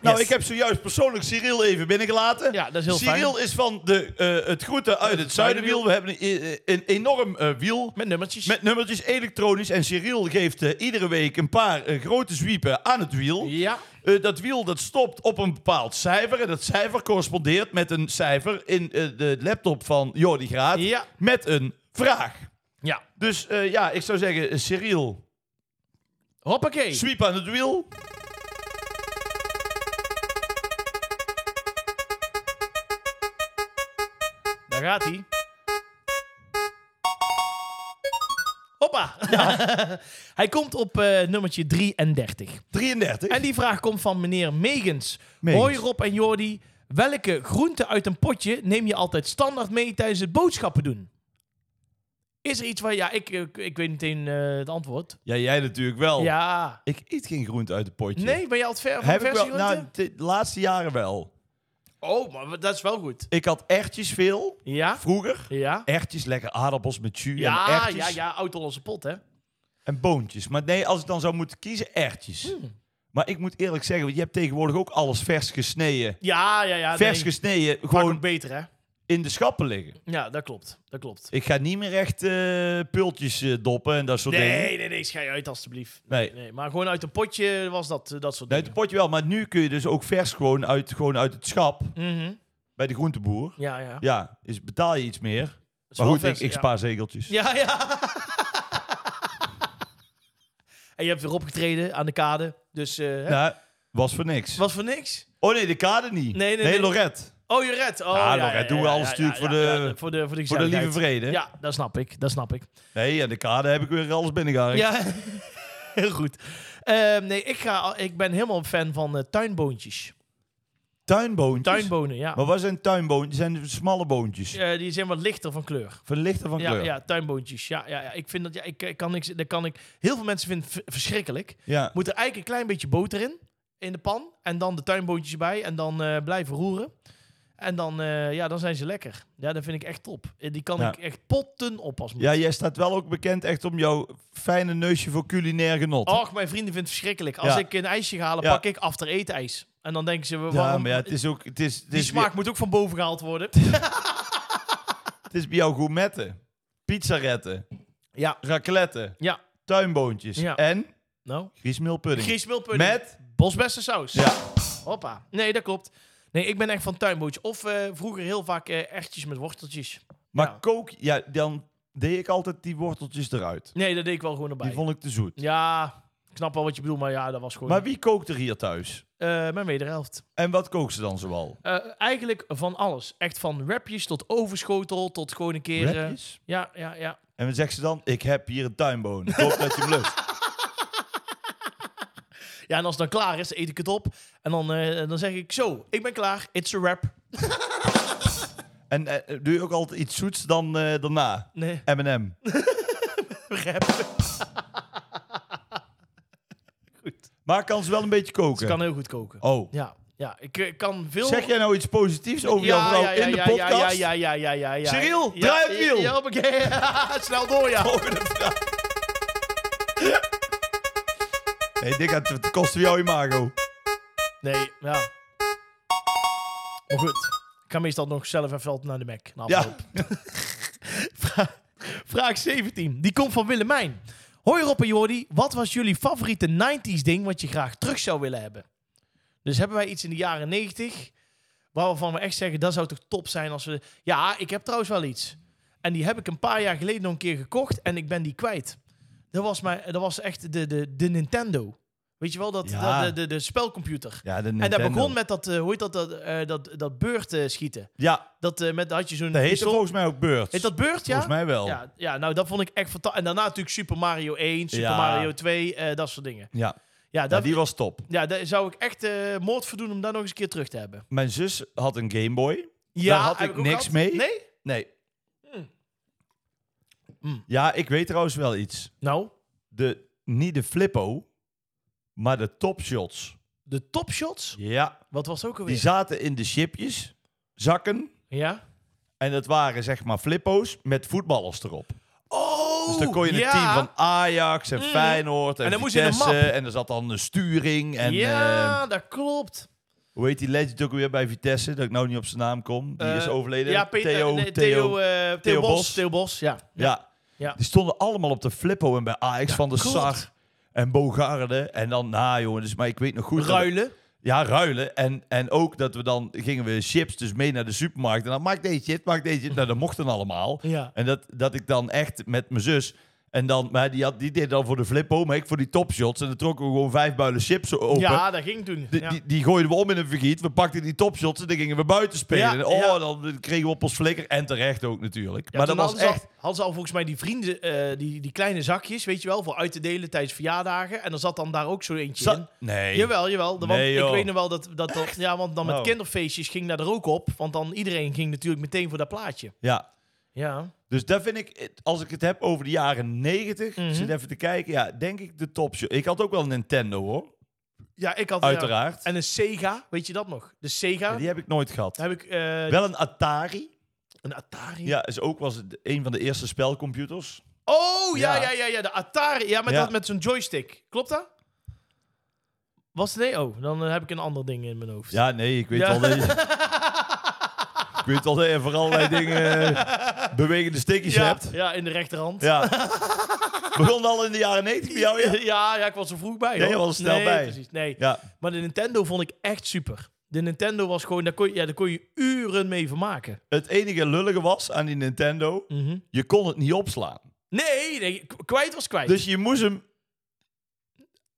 Nou,
Yes.
ik heb zojuist persoonlijk Cyril even binnengelaten.
Ja, dat is heel
Cyril
fijn.
is van de, eh, het groeten uit het zuidenwiel. We hebben een, eh, een enorm eh, wiel.
Met nummertjes.
Met nummertjes elektronisch. En Cyril geeft eh, iedere week een paar eh, grote zwiepen aan het wiel.
Ja.
Eh, dat wiel dat stopt op een bepaald cijfer. En dat cijfer correspondeert met een cijfer in eh, de laptop van Jordi Graat.
Ja.
Met een vraag.
Ja.
Dus eh, ja, ik zou zeggen, eh, Cyril,
Hoppakee.
sweep aan het wiel.
Daar gaat hij. Hoppa. (laughs) hij komt op eh, nummertje 33.
33.
En die vraag komt van meneer Megens.
Megens.
Hoi Rob en Jordi. Welke groente uit een potje neem je altijd standaard mee tijdens het boodschappen doen? Is er iets waar... Ja, ik, ik, ik weet meteen eh, het antwoord.
Ja, jij natuurlijk wel.
Ja.
Ik eet geen groente uit het potje.
Nee, ben je al het ver van
Oh. Heb ik
verse
wel,
groenten?
nou, de laatste jaren wel.
Oh, maar dat is wel goed.
Ik had ertjes veel,
Ja?
vroeger.
Ja?
Ertjes, lekker aardappels met jus en
Ja,
ertjes.
ja, ja, oud-Hollandse pot, hè?
En boontjes. Maar nee, als ik dan zou moeten kiezen, ertjes.
Hmm.
Maar ik moet eerlijk zeggen, want je hebt tegenwoordig ook alles vers gesneden.
Ja, ja, ja.
vers
nee.
gesneden,
Vaak
gewoon
ook beter, hè?
in de schappen liggen.
Ja, dat klopt. Dat klopt.
Ik ga niet meer echt eh, pultjes eh, doppen en dat soort dingen.
Nee, nee, nee, schei uit alstublieft.
Nee.
Nee, maar gewoon uit een potje was dat, eh, dat soort dingen.
Uit het potje wel, maar nu kun je dus ook vers gewoon uit, gewoon uit het schap
Mhm.
bij de groenteboer.
Ja, ja.
Ja, is betaal je iets meer.
Is
Maar
wel
goed, ik,
vers,
ik
ja.
spaar zegeltjes.
Ja, ja. en je hebt weer opgetreden aan de kade. Dus eh, hè?
Nou, was voor niks.
was voor niks.
Oh nee, de kade niet.
Nee, nee, nee.
Lorette.
Oh, je redt. Oh,
Ja, nog, hè. Doen we alles natuurlijk voor de-
voor de, voor de,
Voor de lieve
gezelligheid.
vrede.
Ja, dat snap ik. Dat snap ik.
Nee, en de kade heb ik weer alles binnengehaald.
Ja, (laughs) heel goed. Ehm, nee, ik, ga, al- ik ben helemaal een fan van eh, tuinboontjes.
Tuinboontjes.
Tuinbonen, ja.
Maar wat zijn tuinboontjes? Zijn het smalle boontjes?
Eh, die zijn wat lichter van kleur.
Van lichter van
Ja,
kleur. Ja.
ja, tuinboontjes. Ja, ja, ja. Ik vind dat, ja, ik, ik kan niks, dat kan ik, heel veel mensen vinden het v- verschrikkelijk. Moet er eigenlijk een klein beetje boter in, in de pan. En dan de tuinboontjes erbij. En dan eh, blijven roeren. En dan, eh, ja, dan zijn ze lekker. Ja, dat vind ik echt top. Eh, Die kan
Ja.
ik echt potten oppassen.
Ja, jij staat wel ook bekend echt om jouw fijne neusje voor culinair genot.
Och, mijn vrienden vinden het verschrikkelijk. Als
Ja.
ik een ijsje ga halen,
Ja.
pak ik after eten ijs. En dan denken ze, waarom...
ja, maar ja, het is ook... Het is, het
die
is,
smaak
bij,
moet ook van boven gehaald worden.
het is bij jou gourmetten. Pizzaretten.
Ja.
raclette,
Ja.
tuinboontjes
Ja.
en
Nou.
griesmeelpudding.
Griesmeelpudding.
Met,
Bosbessensaus.
ja,
Hoppa. Nee, dat klopt. Nee, ik ben echt van tuinbootjes. Of eh, vroeger heel vaak eh erwtjes met worteltjes.
maar
Ja.
kook, ja, dan deed ik altijd die worteltjes eruit.
Nee, dat deed ik wel gewoon erbij.
Die vond ik te zoet.
Ja, ik snap wel wat je bedoelt, maar ja, dat was gewoon...
Maar wie kookt er hier thuis?
Eh, mijn wederhelft.
En wat kookt ze dan zoal?
Eh, eigenlijk van alles. Echt van wrapjes tot overschotel tot gewoon een keer... eh,
Wrapjes?
ja, ja, ja.
En dan zegt ze dan, ik heb hier een tuinboon. Ik hoop dat je hem
(laughs)
lust.
Ja, en als het dan klaar is, eet ik het op. En dan, eh, dan zeg ik zo, ik ben klaar. It's a wrap.
En eh, doe je ook altijd iets zoets dan eh, daarna?
Nee,
M&M.
(laughs) wrap.
Maar kan ze wel een beetje koken?
Ik kan heel goed koken.
Oh.
Ja, ja. Ik, eh, kan veel...
Zeg jij nou iets positiefs over jouw vrouw in de
ja,
podcast?
Ja, ja, ja, ja, ja, ja.
Cyril,
ja,
draai het wiel.
Ja, hoppakee. (laughs) Snel door, ja.
Volgende vraag. (laughs) Nee, dit gaat ten koste van jouw imago.
Nee, ja. Maar goed, ik ga meestal nog zelf even wat naar de Mac. na
Ja.
afloop. Vra- Vraag 17, die komt van Willemijn. Hoi Rob en Jordi, wat was jullie favoriete 90s ding wat je graag terug zou willen hebben? Dus hebben wij iets in de jaren 90 waarvan we echt zeggen, dat zou toch top zijn als we... Ja, ik heb trouwens wel iets. En die heb ik een paar jaar geleden nog een keer gekocht en ik ben die kwijt. Dat was, mijn, dat was echt de, de, de Nintendo. Weet je wel, dat,
Ja.
dat- de, de, de spelcomputer.
Ja, de
En
Nintendo.
dat begon met dat, eh, hoe heet dat, dat, eh, dat, dat beurt eh, schieten.
Ja,
Dat, eh, met, had je zo'n
dat heette
pistool-
volgens mij ook beurt.
Heet dat beurt, ja?
Volgens mij wel. Ja.
Ja, ja, nou dat vond ik echt fantastisch. En daarna natuurlijk Super Mario 1, Super
Ja.
Mario 2, eh, dat soort dingen.
Ja,
Ja, dat,
die was top.
ja, daar zou ik echt eh, moord voor doen om dat nog eens een keer terug te hebben.
Mijn zus had een Game Boy.
Ja,
had
heb
ik
ook
niks
gehad.
mee.
Nee?
Nee.
Mm. Hm.
Ja, ik weet trouwens wel iets.
Nou,
De, niet de Flippo, maar de Topshots.
de topshots,
Ja,
wat was het ook
die
alweer?
zaten in de chipjes, zakken.
Ja?
En dat waren zeg maar Flippo's met voetballers erop.
Oh!
Dus dan kon je het
ja.
team van Ajax en
Mm.
Feyenoord en,
En dan moest je in een
Vitesse.
map.
En er zat dan een sturing. En
ja,
eh,
dat klopt.
hoe heet die legend ook weer bij Vitesse? Dat ik nou niet op zijn naam kom. Die is
Eh,
overleden.
Ja, Pe-
Theo.
eh, nee,
Theo.
Theo, eh, Theo
Theo
Bos.
Bos.
Theo Bos, ja.
ja.
Ja.
Die stonden allemaal op de Flippo en bij Ajax van de
klopt.
Sar. En Bogarde. En dan, nou jongen, dus, maar ik weet nog goed. dat-
Ruilen.
Ja, ruilen. En, en ook dat we dan gingen we chips dus mee naar de supermarkt. En dan maak deze chip, maak deze chip. Nou, dat mochten allemaal.
Ja.
En dat, dat ik dan echt met mijn zus. En dan, maar die, had, die deed dan voor de flippo, maar ik voor die topshots. En dan trokken we gewoon vijf builen chips open.
Ja, dat ging toen.
Die,
ja.
die, die gooiden we om in een vergiet. We pakten die topshots en dan gingen we buiten spelen.
Ja,
En oh,
ja.
dan kregen we op ons flikker. En terecht ook natuurlijk.
Ja,
maar
toen
dat was
hadden ze
echt...
Al, hadden ze al volgens mij die vrienden, eh, die, die kleine zakjes, weet je wel, voor uit te delen tijdens verjaardagen. En er zat dan daar ook zo eentje in.
Za- nee.
Jawel, jawel. de- Want
Nee,
ik
joh.
weet nog wel dat... dat, dat ja, want dan met
Oh.
kinderfeestjes ging daar er ook op. Want dan iedereen ging natuurlijk meteen voor dat plaatje.
Ja.
Ja.
Dus dat vind ik, als ik het heb over de jaren 90,
Mhm.
zit even te kijken. Ja, denk ik de topshot. Ik had ook wel een Nintendo hoor.
Ja, ik had...
Uiteraard.
ja. En een Sega, weet je dat nog? De Sega.
Ja, die heb ik nooit gehad.
heb ik... eh,
Wel een Atari.
een Atari.
Ja, is ook was het een van de eerste spelcomputers.
Oh, ja,
Ja.
ja, ja, ja. De Atari. Ja, maar
Ja.
dat met zo'n joystick. Klopt dat? Was het... Nee, oh. Dan eh, heb ik een ander ding in mijn hoofd.
Ja, nee, ik weet
Ja.
al (laughs) dat je... Ik weet al dat je voor allerlei dingen eh, bewegende stikjes
ja,
hebt.
ja, in de rechterhand.
(laughs) Ja. Begon al in de jaren 90 bij jou,
(laughs)
ja?
Ja, ja, ik was er vroeg bij.
Ja, je
hoor.
was er snel
Nee,
bij.
Precies, nee.
Ja,
Maar de Nintendo vond ik echt super. De Nintendo was gewoon, daar kon je, ja, daar kon je uren mee vermaken.
het enige lullige was aan die Nintendo, je kon het niet opslaan.
Nee, nee, k- kwijt was kwijt.
Dus je moest hem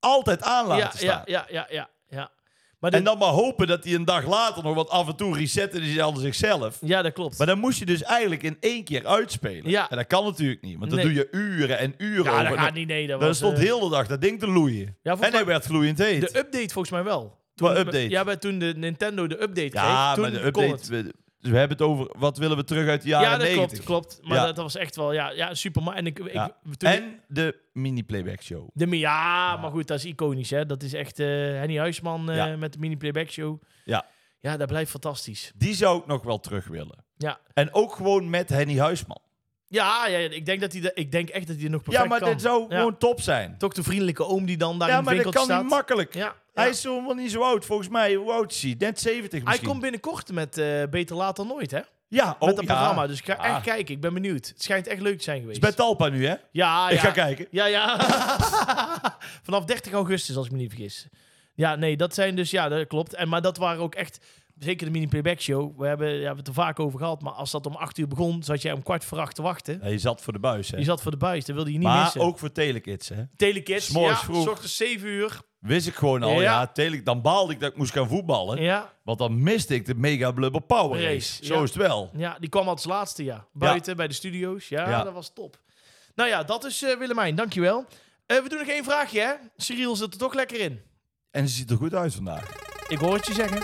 altijd aan laten
ja,
staan.
ja, ja, ja, ja, ja. Maar de-
En dan maar hopen dat hij een dag later nog wat af en toe resetten is aan zichzelf.
ja, dat klopt.
Maar dan moest je dus eigenlijk in één keer uitspelen.
Ja.
En dat kan natuurlijk niet, want dan
Nee.
doe je uren en uren
ja,
over.
dat
En
gaat
Dan,
niet, nee. Dat
dan
was,
stond
eh,
heel de dag dat ding te loeien.
Ja,
en
volgens
hij werd gloeiend heet.
De update volgens mij wel.
Wat
Toen-
update?
Ja, maar toen de Nintendo de update
ja,
kreeg, toen
maar de
kon
update...
het.
We, dus we hebben het over, wat willen we terug uit de jaren
Ja, dat
90?
klopt, klopt. Maar
Ja.
dat, dat was echt wel, ja, ja super. Maar, en ik, ik,
Ja.
toen-
En de mini-playback show.
De, mi- ja, maar goed, dat is iconisch. Hè? Dat is echt eh Henny Huisman eh,
Ja.
met de mini-playback show.
Ja.
Ja, dat blijft fantastisch.
Die zou ik nog wel terug willen.
Ja.
En ook gewoon met Henny Huisman.
Ja, ja, ja, ik, denk dat hij dat- ik denk echt dat hij nog perfect
Ja, maar
kan.
dit zou
Ja.
gewoon top zijn.
Toch de vriendelijke oom die dan daar
Ja,
in de
maar dat
winkel
kan
staat.
niet makkelijk.
ja, ja.
Hij is helemaal niet zo oud, volgens mij. Hoe oud is hij? Net 70
Hij
misschien.
komt binnenkort met eh, Beter Laat dan Nooit, hè?
Ja, oh,
met dat
ja.
programma. Dus ik ga
Ja.
echt kijken. Ik ben benieuwd. Het schijnt echt leuk te zijn geweest.
Het is bij Talpa nu, hè?
Ah, Ja, ja.
Ik ga kijken.
Ja, ja. (laughs) Vanaf 30 augustus, als ik me niet vergis. Ja, nee, dat zijn dus, ja, dat klopt. En, maar dat waren ook echt, zeker de mini-playback show. We hebben, ja, we hebben het er vaak over gehad. Maar als dat om 8 uur begon, zat jij om kwart voor acht te wachten.
Ja, je zat voor de buis, hè?
Je zat voor de buis, dat wilde je niet
maar
missen.
ook voor Telekids, hè?
Telekids,
s'morgens
ja,
vroeg.
s ochtends 7 uur.
Wist ik gewoon al, ja.
Ja.
Tele- dan baalde ik dat ik moest gaan voetballen.
Ja,
Want dan miste ik de Mega Blubber Power Race.
Race,
Zo
ja.
is het wel.
ja, die kwam als laatste, ja. Buiten, bij de studio's. Ja,
Ja.
dat was top. Nou ja, dat is eh, Willemijn, dankjewel. Eh, we doen nog één vraagje, hè. Cyril zit er toch lekker in.
En ze ziet er goed uit vandaag.
Ik hoor het je zeggen.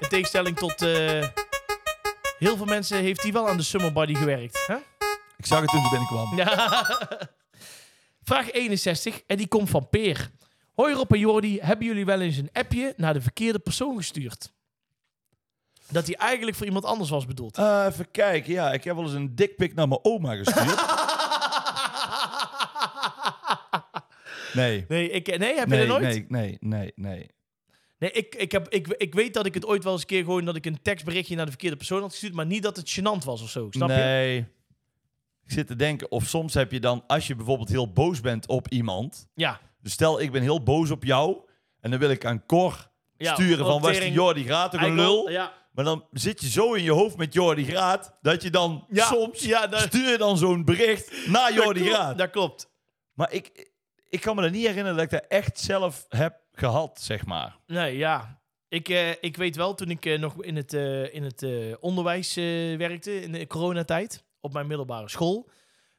In tegenstelling tot eh, heel veel mensen heeft hij wel aan de summer body gewerkt. Hè?
Ik zag het toen ze binnenkwam.
Ja. (laughs) Vraag 61 en die komt van Peer. Hoi Rob en Jordi, hebben jullie wel eens een appje naar de verkeerde persoon gestuurd? Dat die eigenlijk voor iemand anders was bedoeld.
Eh, even kijken, ja. Ik heb wel eens een dikpik naar mijn oma
(laughs)
gestuurd.
(laughs)
Nee.
Nee, ik, nee heb je
nee,
dat nooit?
nee, nee, nee, nee.
Nee, ik, ik, heb, ik, ik weet dat ik het ooit wel eens een keer gewoon... dat ik een tekstberichtje naar de verkeerde persoon had gestuurd... maar niet dat het gênant was of zo, snap je?
nee. Ik zit te denken, of soms heb je dan, als je bijvoorbeeld heel boos bent op iemand.
Ja.
Dus stel, ik ben heel boos op jou. En dan wil ik aan Cor
Ja,
sturen van, was die
tering.
Jordi Graat toch een
Eikel,
lul?
Ja.
Maar dan zit je zo in je hoofd met Jordi Graat, dat je dan
Ja,
soms
ja, dat-
stuur je dan zo'n bericht naar Jordi Graat.
Dat klopt.
Maar ik, ik kan me er niet herinneren dat ik dat echt zelf heb gehad, zeg maar.
Nee, ja. Ik, eh, ik weet wel, toen ik eh, nog in het, eh, in het eh, onderwijs eh, werkte, in de coronatijd, op mijn middelbare school.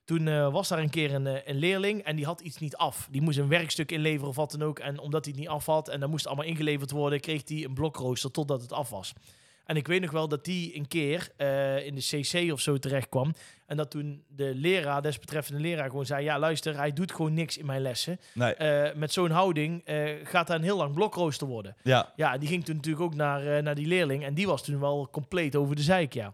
Toen eh, was daar een keer een, eh, een leerling en die had iets niet af. Die moest een werkstuk inleveren of wat dan ook. En omdat hij het niet af had en dat moest allemaal ingeleverd worden, kreeg hij een blokraaster totdat het af was. En ik weet nog wel dat die een keer eh, in de CC of zo terecht kwam. En dat toen de leraar, desbetreffende leraar, gewoon zei: Ja, luister, hij doet gewoon niks in mijn lessen.
Nee.
Eh, met zo'n houding eh, gaat daar een heel lang blokraaster worden.
Ja.
Ja, die ging toen natuurlijk ook naar, eh, naar die leerling. En die was toen wel compleet over de zeik, ja.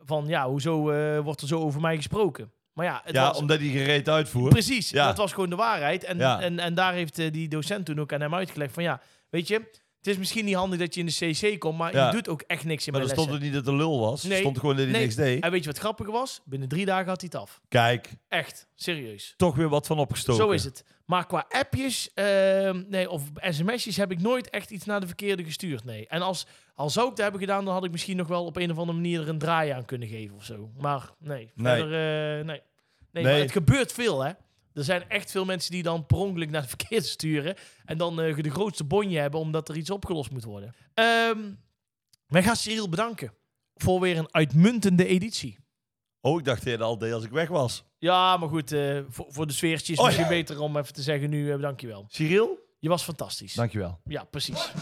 Van, ja, hoezo eh, wordt er zo over mij gesproken? Maar ja, het
ja,
was...
omdat hij gereed uitvoert.
Precies,
Ja.
dat was gewoon de waarheid. En,
Ja.
en, en daar heeft eh, die docent toen ook aan hem uitgelegd van, ja, weet je... Het is misschien niet handig dat je in de CC komt, maar
Ja.
je doet ook echt niks in
Maar
mijn
dan
lessen.
stond er niet dat de lul was.
Nee.
stond gewoon dat hij
Nee.
niks deed.
En weet je wat grappiger was? Binnen drie dagen had hij het af.
Kijk,
Echt, serieus.
toch weer wat van opgestoken.
Zo is het. Maar qua appjes ehm, nee, of sms'jes heb ik nooit echt iets naar de verkeerde gestuurd. Nee. En als, al zou ik dat hebben gedaan, dan had ik misschien nog wel op een of andere manier er een draai aan kunnen geven of zo. Maar nee.
Nee.
Verder, eh, nee. Nee,
Nee.
Maar het gebeurt veel, hè. Er zijn echt veel mensen die dan per ongeluk naar de (laughs) verkeerde sturen. En dan eh, de grootste bonje hebben omdat er iets opgelost moet worden. Ehm wij gaan Cyril bedanken voor weer een uitmuntende editie.
Oh, ik dacht dat je dat al deed als ik weg was.
Ja, maar goed, eh, voor, voor de sfeertjes is
Oh,
misschien
ja.
beter om even te zeggen nu eh dankjewel.
Cyril?
Je was fantastisch.
Dankjewel.
Ja, precies.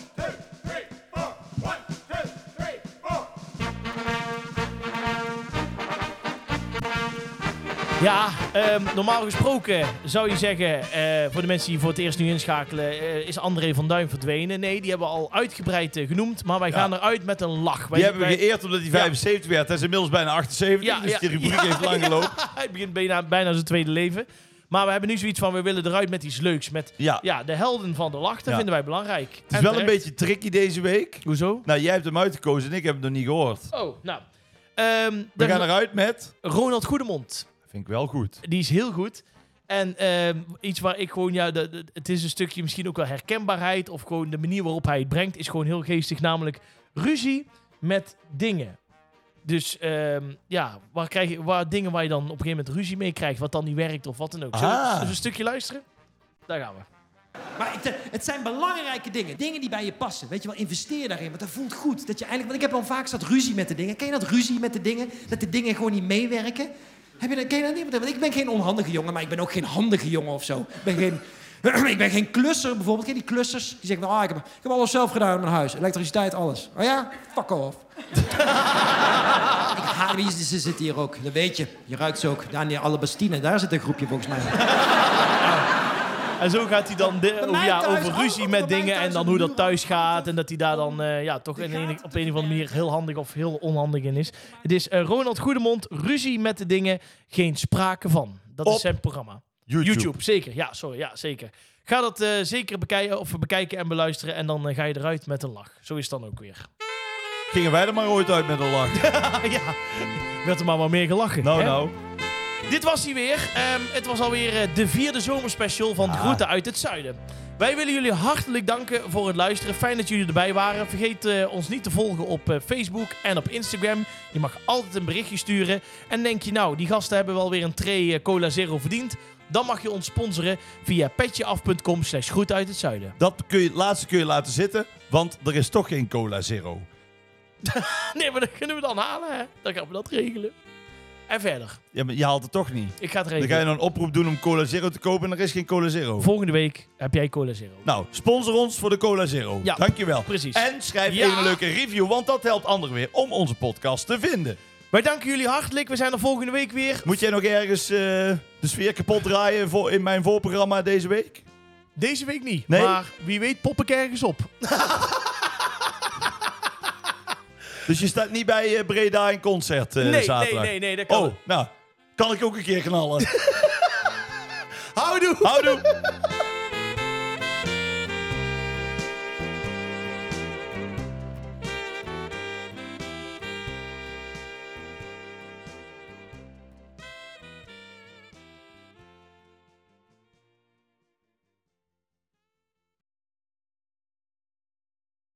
Ja, ehm, normaal gesproken zou je zeggen, eh, voor de mensen die voor het eerst nu inschakelen, eh, is André van Duin verdwenen. Nee, die hebben we al uitgebreid eh, genoemd, maar wij
Ja.
gaan eruit met een lach. Wij,
Die hebben we
wij-
geëerd omdat hij 75 werd. Hij is inmiddels bijna 78,
Ja,
dus
ja,
die rubriek heeft lang gelopen.
(laughs) het begint bijna, bijna zijn tweede leven. Maar we hebben nu zoiets van, we willen eruit met iets leuks. Met
Ja.
ja, de helden van de lach, dat
Ja.
vinden wij belangrijk.
Het is wel een beetje tricky deze week.
Hoezo?
Nou, jij hebt hem uitgekozen en ik heb hem nog niet gehoord.
Oh, nou. Ehm,
We
dan-
gaan eruit met...
Ronald Goedemond.
Vind ik wel goed.
Die is heel goed. En ehm, iets waar ik gewoon, ja, de- de- het is een stukje misschien ook wel herkenbaarheid. Of gewoon de manier waarop hij het brengt, is gewoon heel geestig. Namelijk ruzie met dingen. Dus ehm, ja, waar, krijg je, waar dingen waar je dan op een gegeven moment ruzie mee krijgt. Wat dan niet werkt of wat dan ook. Zullen we
Ah.
zullen we een stukje luisteren? Daar gaan we.
Maar het, eh, het zijn belangrijke dingen. Dingen die bij je passen. Weet je wel, investeer daarin. Want dat voelt goed. Dat je eigenlijk, want ik heb al vaak zat ruzie met de dingen. Ken je dat ruzie met de dingen? Dat de dingen gewoon niet meewerken? Heb je dat, ken je dat niet? Want ik ben geen onhandige jongen, maar ik ben ook geen handige jongen of zo. Ik ben geen, (clears throat) ik ben geen klusser bijvoorbeeld. Ken je die klussers? Die zeggen, ah, ik, heb, ik heb alles zelf gedaan in mijn huis. Elektriciteit, alles. Oh ja? Fuck off. (laughs) ik haat wie ze ze zitten hier ook. Dat weet je. Je ruikt ze ook. Daar in die Alabastine, daar zit een groepje volgens mij.
En zo gaat hij dan de-
mij
ja,
thuis
over
ook,
ruzie
bij
met
mij
dingen
thuis
en dan
een
hoe
muur
dat thuis
aan.
gaat. En dat hij daar dan eh, ja, toch in een- op een of andere manier heel handig of heel onhandig in is. Het is eh, Ronald Goedemond, ruzie met de dingen, geen sprake van. Dat
Op
is zijn programma.
YouTube.
YouTube, zeker. Ja, sorry. Ja, zeker. Ga dat
(laughs)
eh, zeker bekijken, of bekijken en beluisteren. En dan eh, ga je eruit met een lach. Zo is het dan ook weer.
Gingen wij er maar ooit uit met een
(laughs)
lach.
ja, werd er maar wat meer gelachen.
Nou,
hè?
nou.
Dit was hij weer. Ehm, het was alweer eh, de vierde zomerspecial van
Ah.
De Groeten uit het Zuiden. Wij willen jullie hartelijk danken voor het luisteren. Fijn dat jullie erbij waren. Vergeet eh, ons niet te volgen op eh, Facebook en op Instagram. Je mag altijd een berichtje sturen. En denk je nou, die gasten hebben wel weer een tray eh, Cola Zero verdiend. Dan mag je ons sponsoren via petjeaf.com slash groet uit het zuiden.
Dat kun je, het laatste kun je laten zitten, want er is toch geen cola zero.
Nee, maar dat kunnen we dan halen, hè? Dan gaan we dat regelen. En verder.
Ja, maar je haalt het toch niet.
Ik ga het
Dan ga je
regelen.
dan een oproep doen om cola zero te kopen en er is geen cola zero.
Volgende week heb jij Cola Zero.
Nou, sponsor ons voor de cola zero.
Ja,
Dankjewel.
precies.
En schrijf
Ja.
even een leuke review, want dat helpt anderen weer om onze podcast te vinden.
Wij danken jullie hartelijk. We zijn er volgende week weer.
Moet jij nog ergens eh, de sfeer kapot draaien voor, in mijn voorprogramma deze week?
Deze week niet.
Nee? Eh,
Maar wie weet pop ik ergens op.
Dus je staat niet bij eh, Breda in concert eh,
nee,
zaterdag?
nee, nee, nee, dat kan.
Oh, nou, kan ik ook een keer knallen.
(laughs) Houdoe!
Houdoe!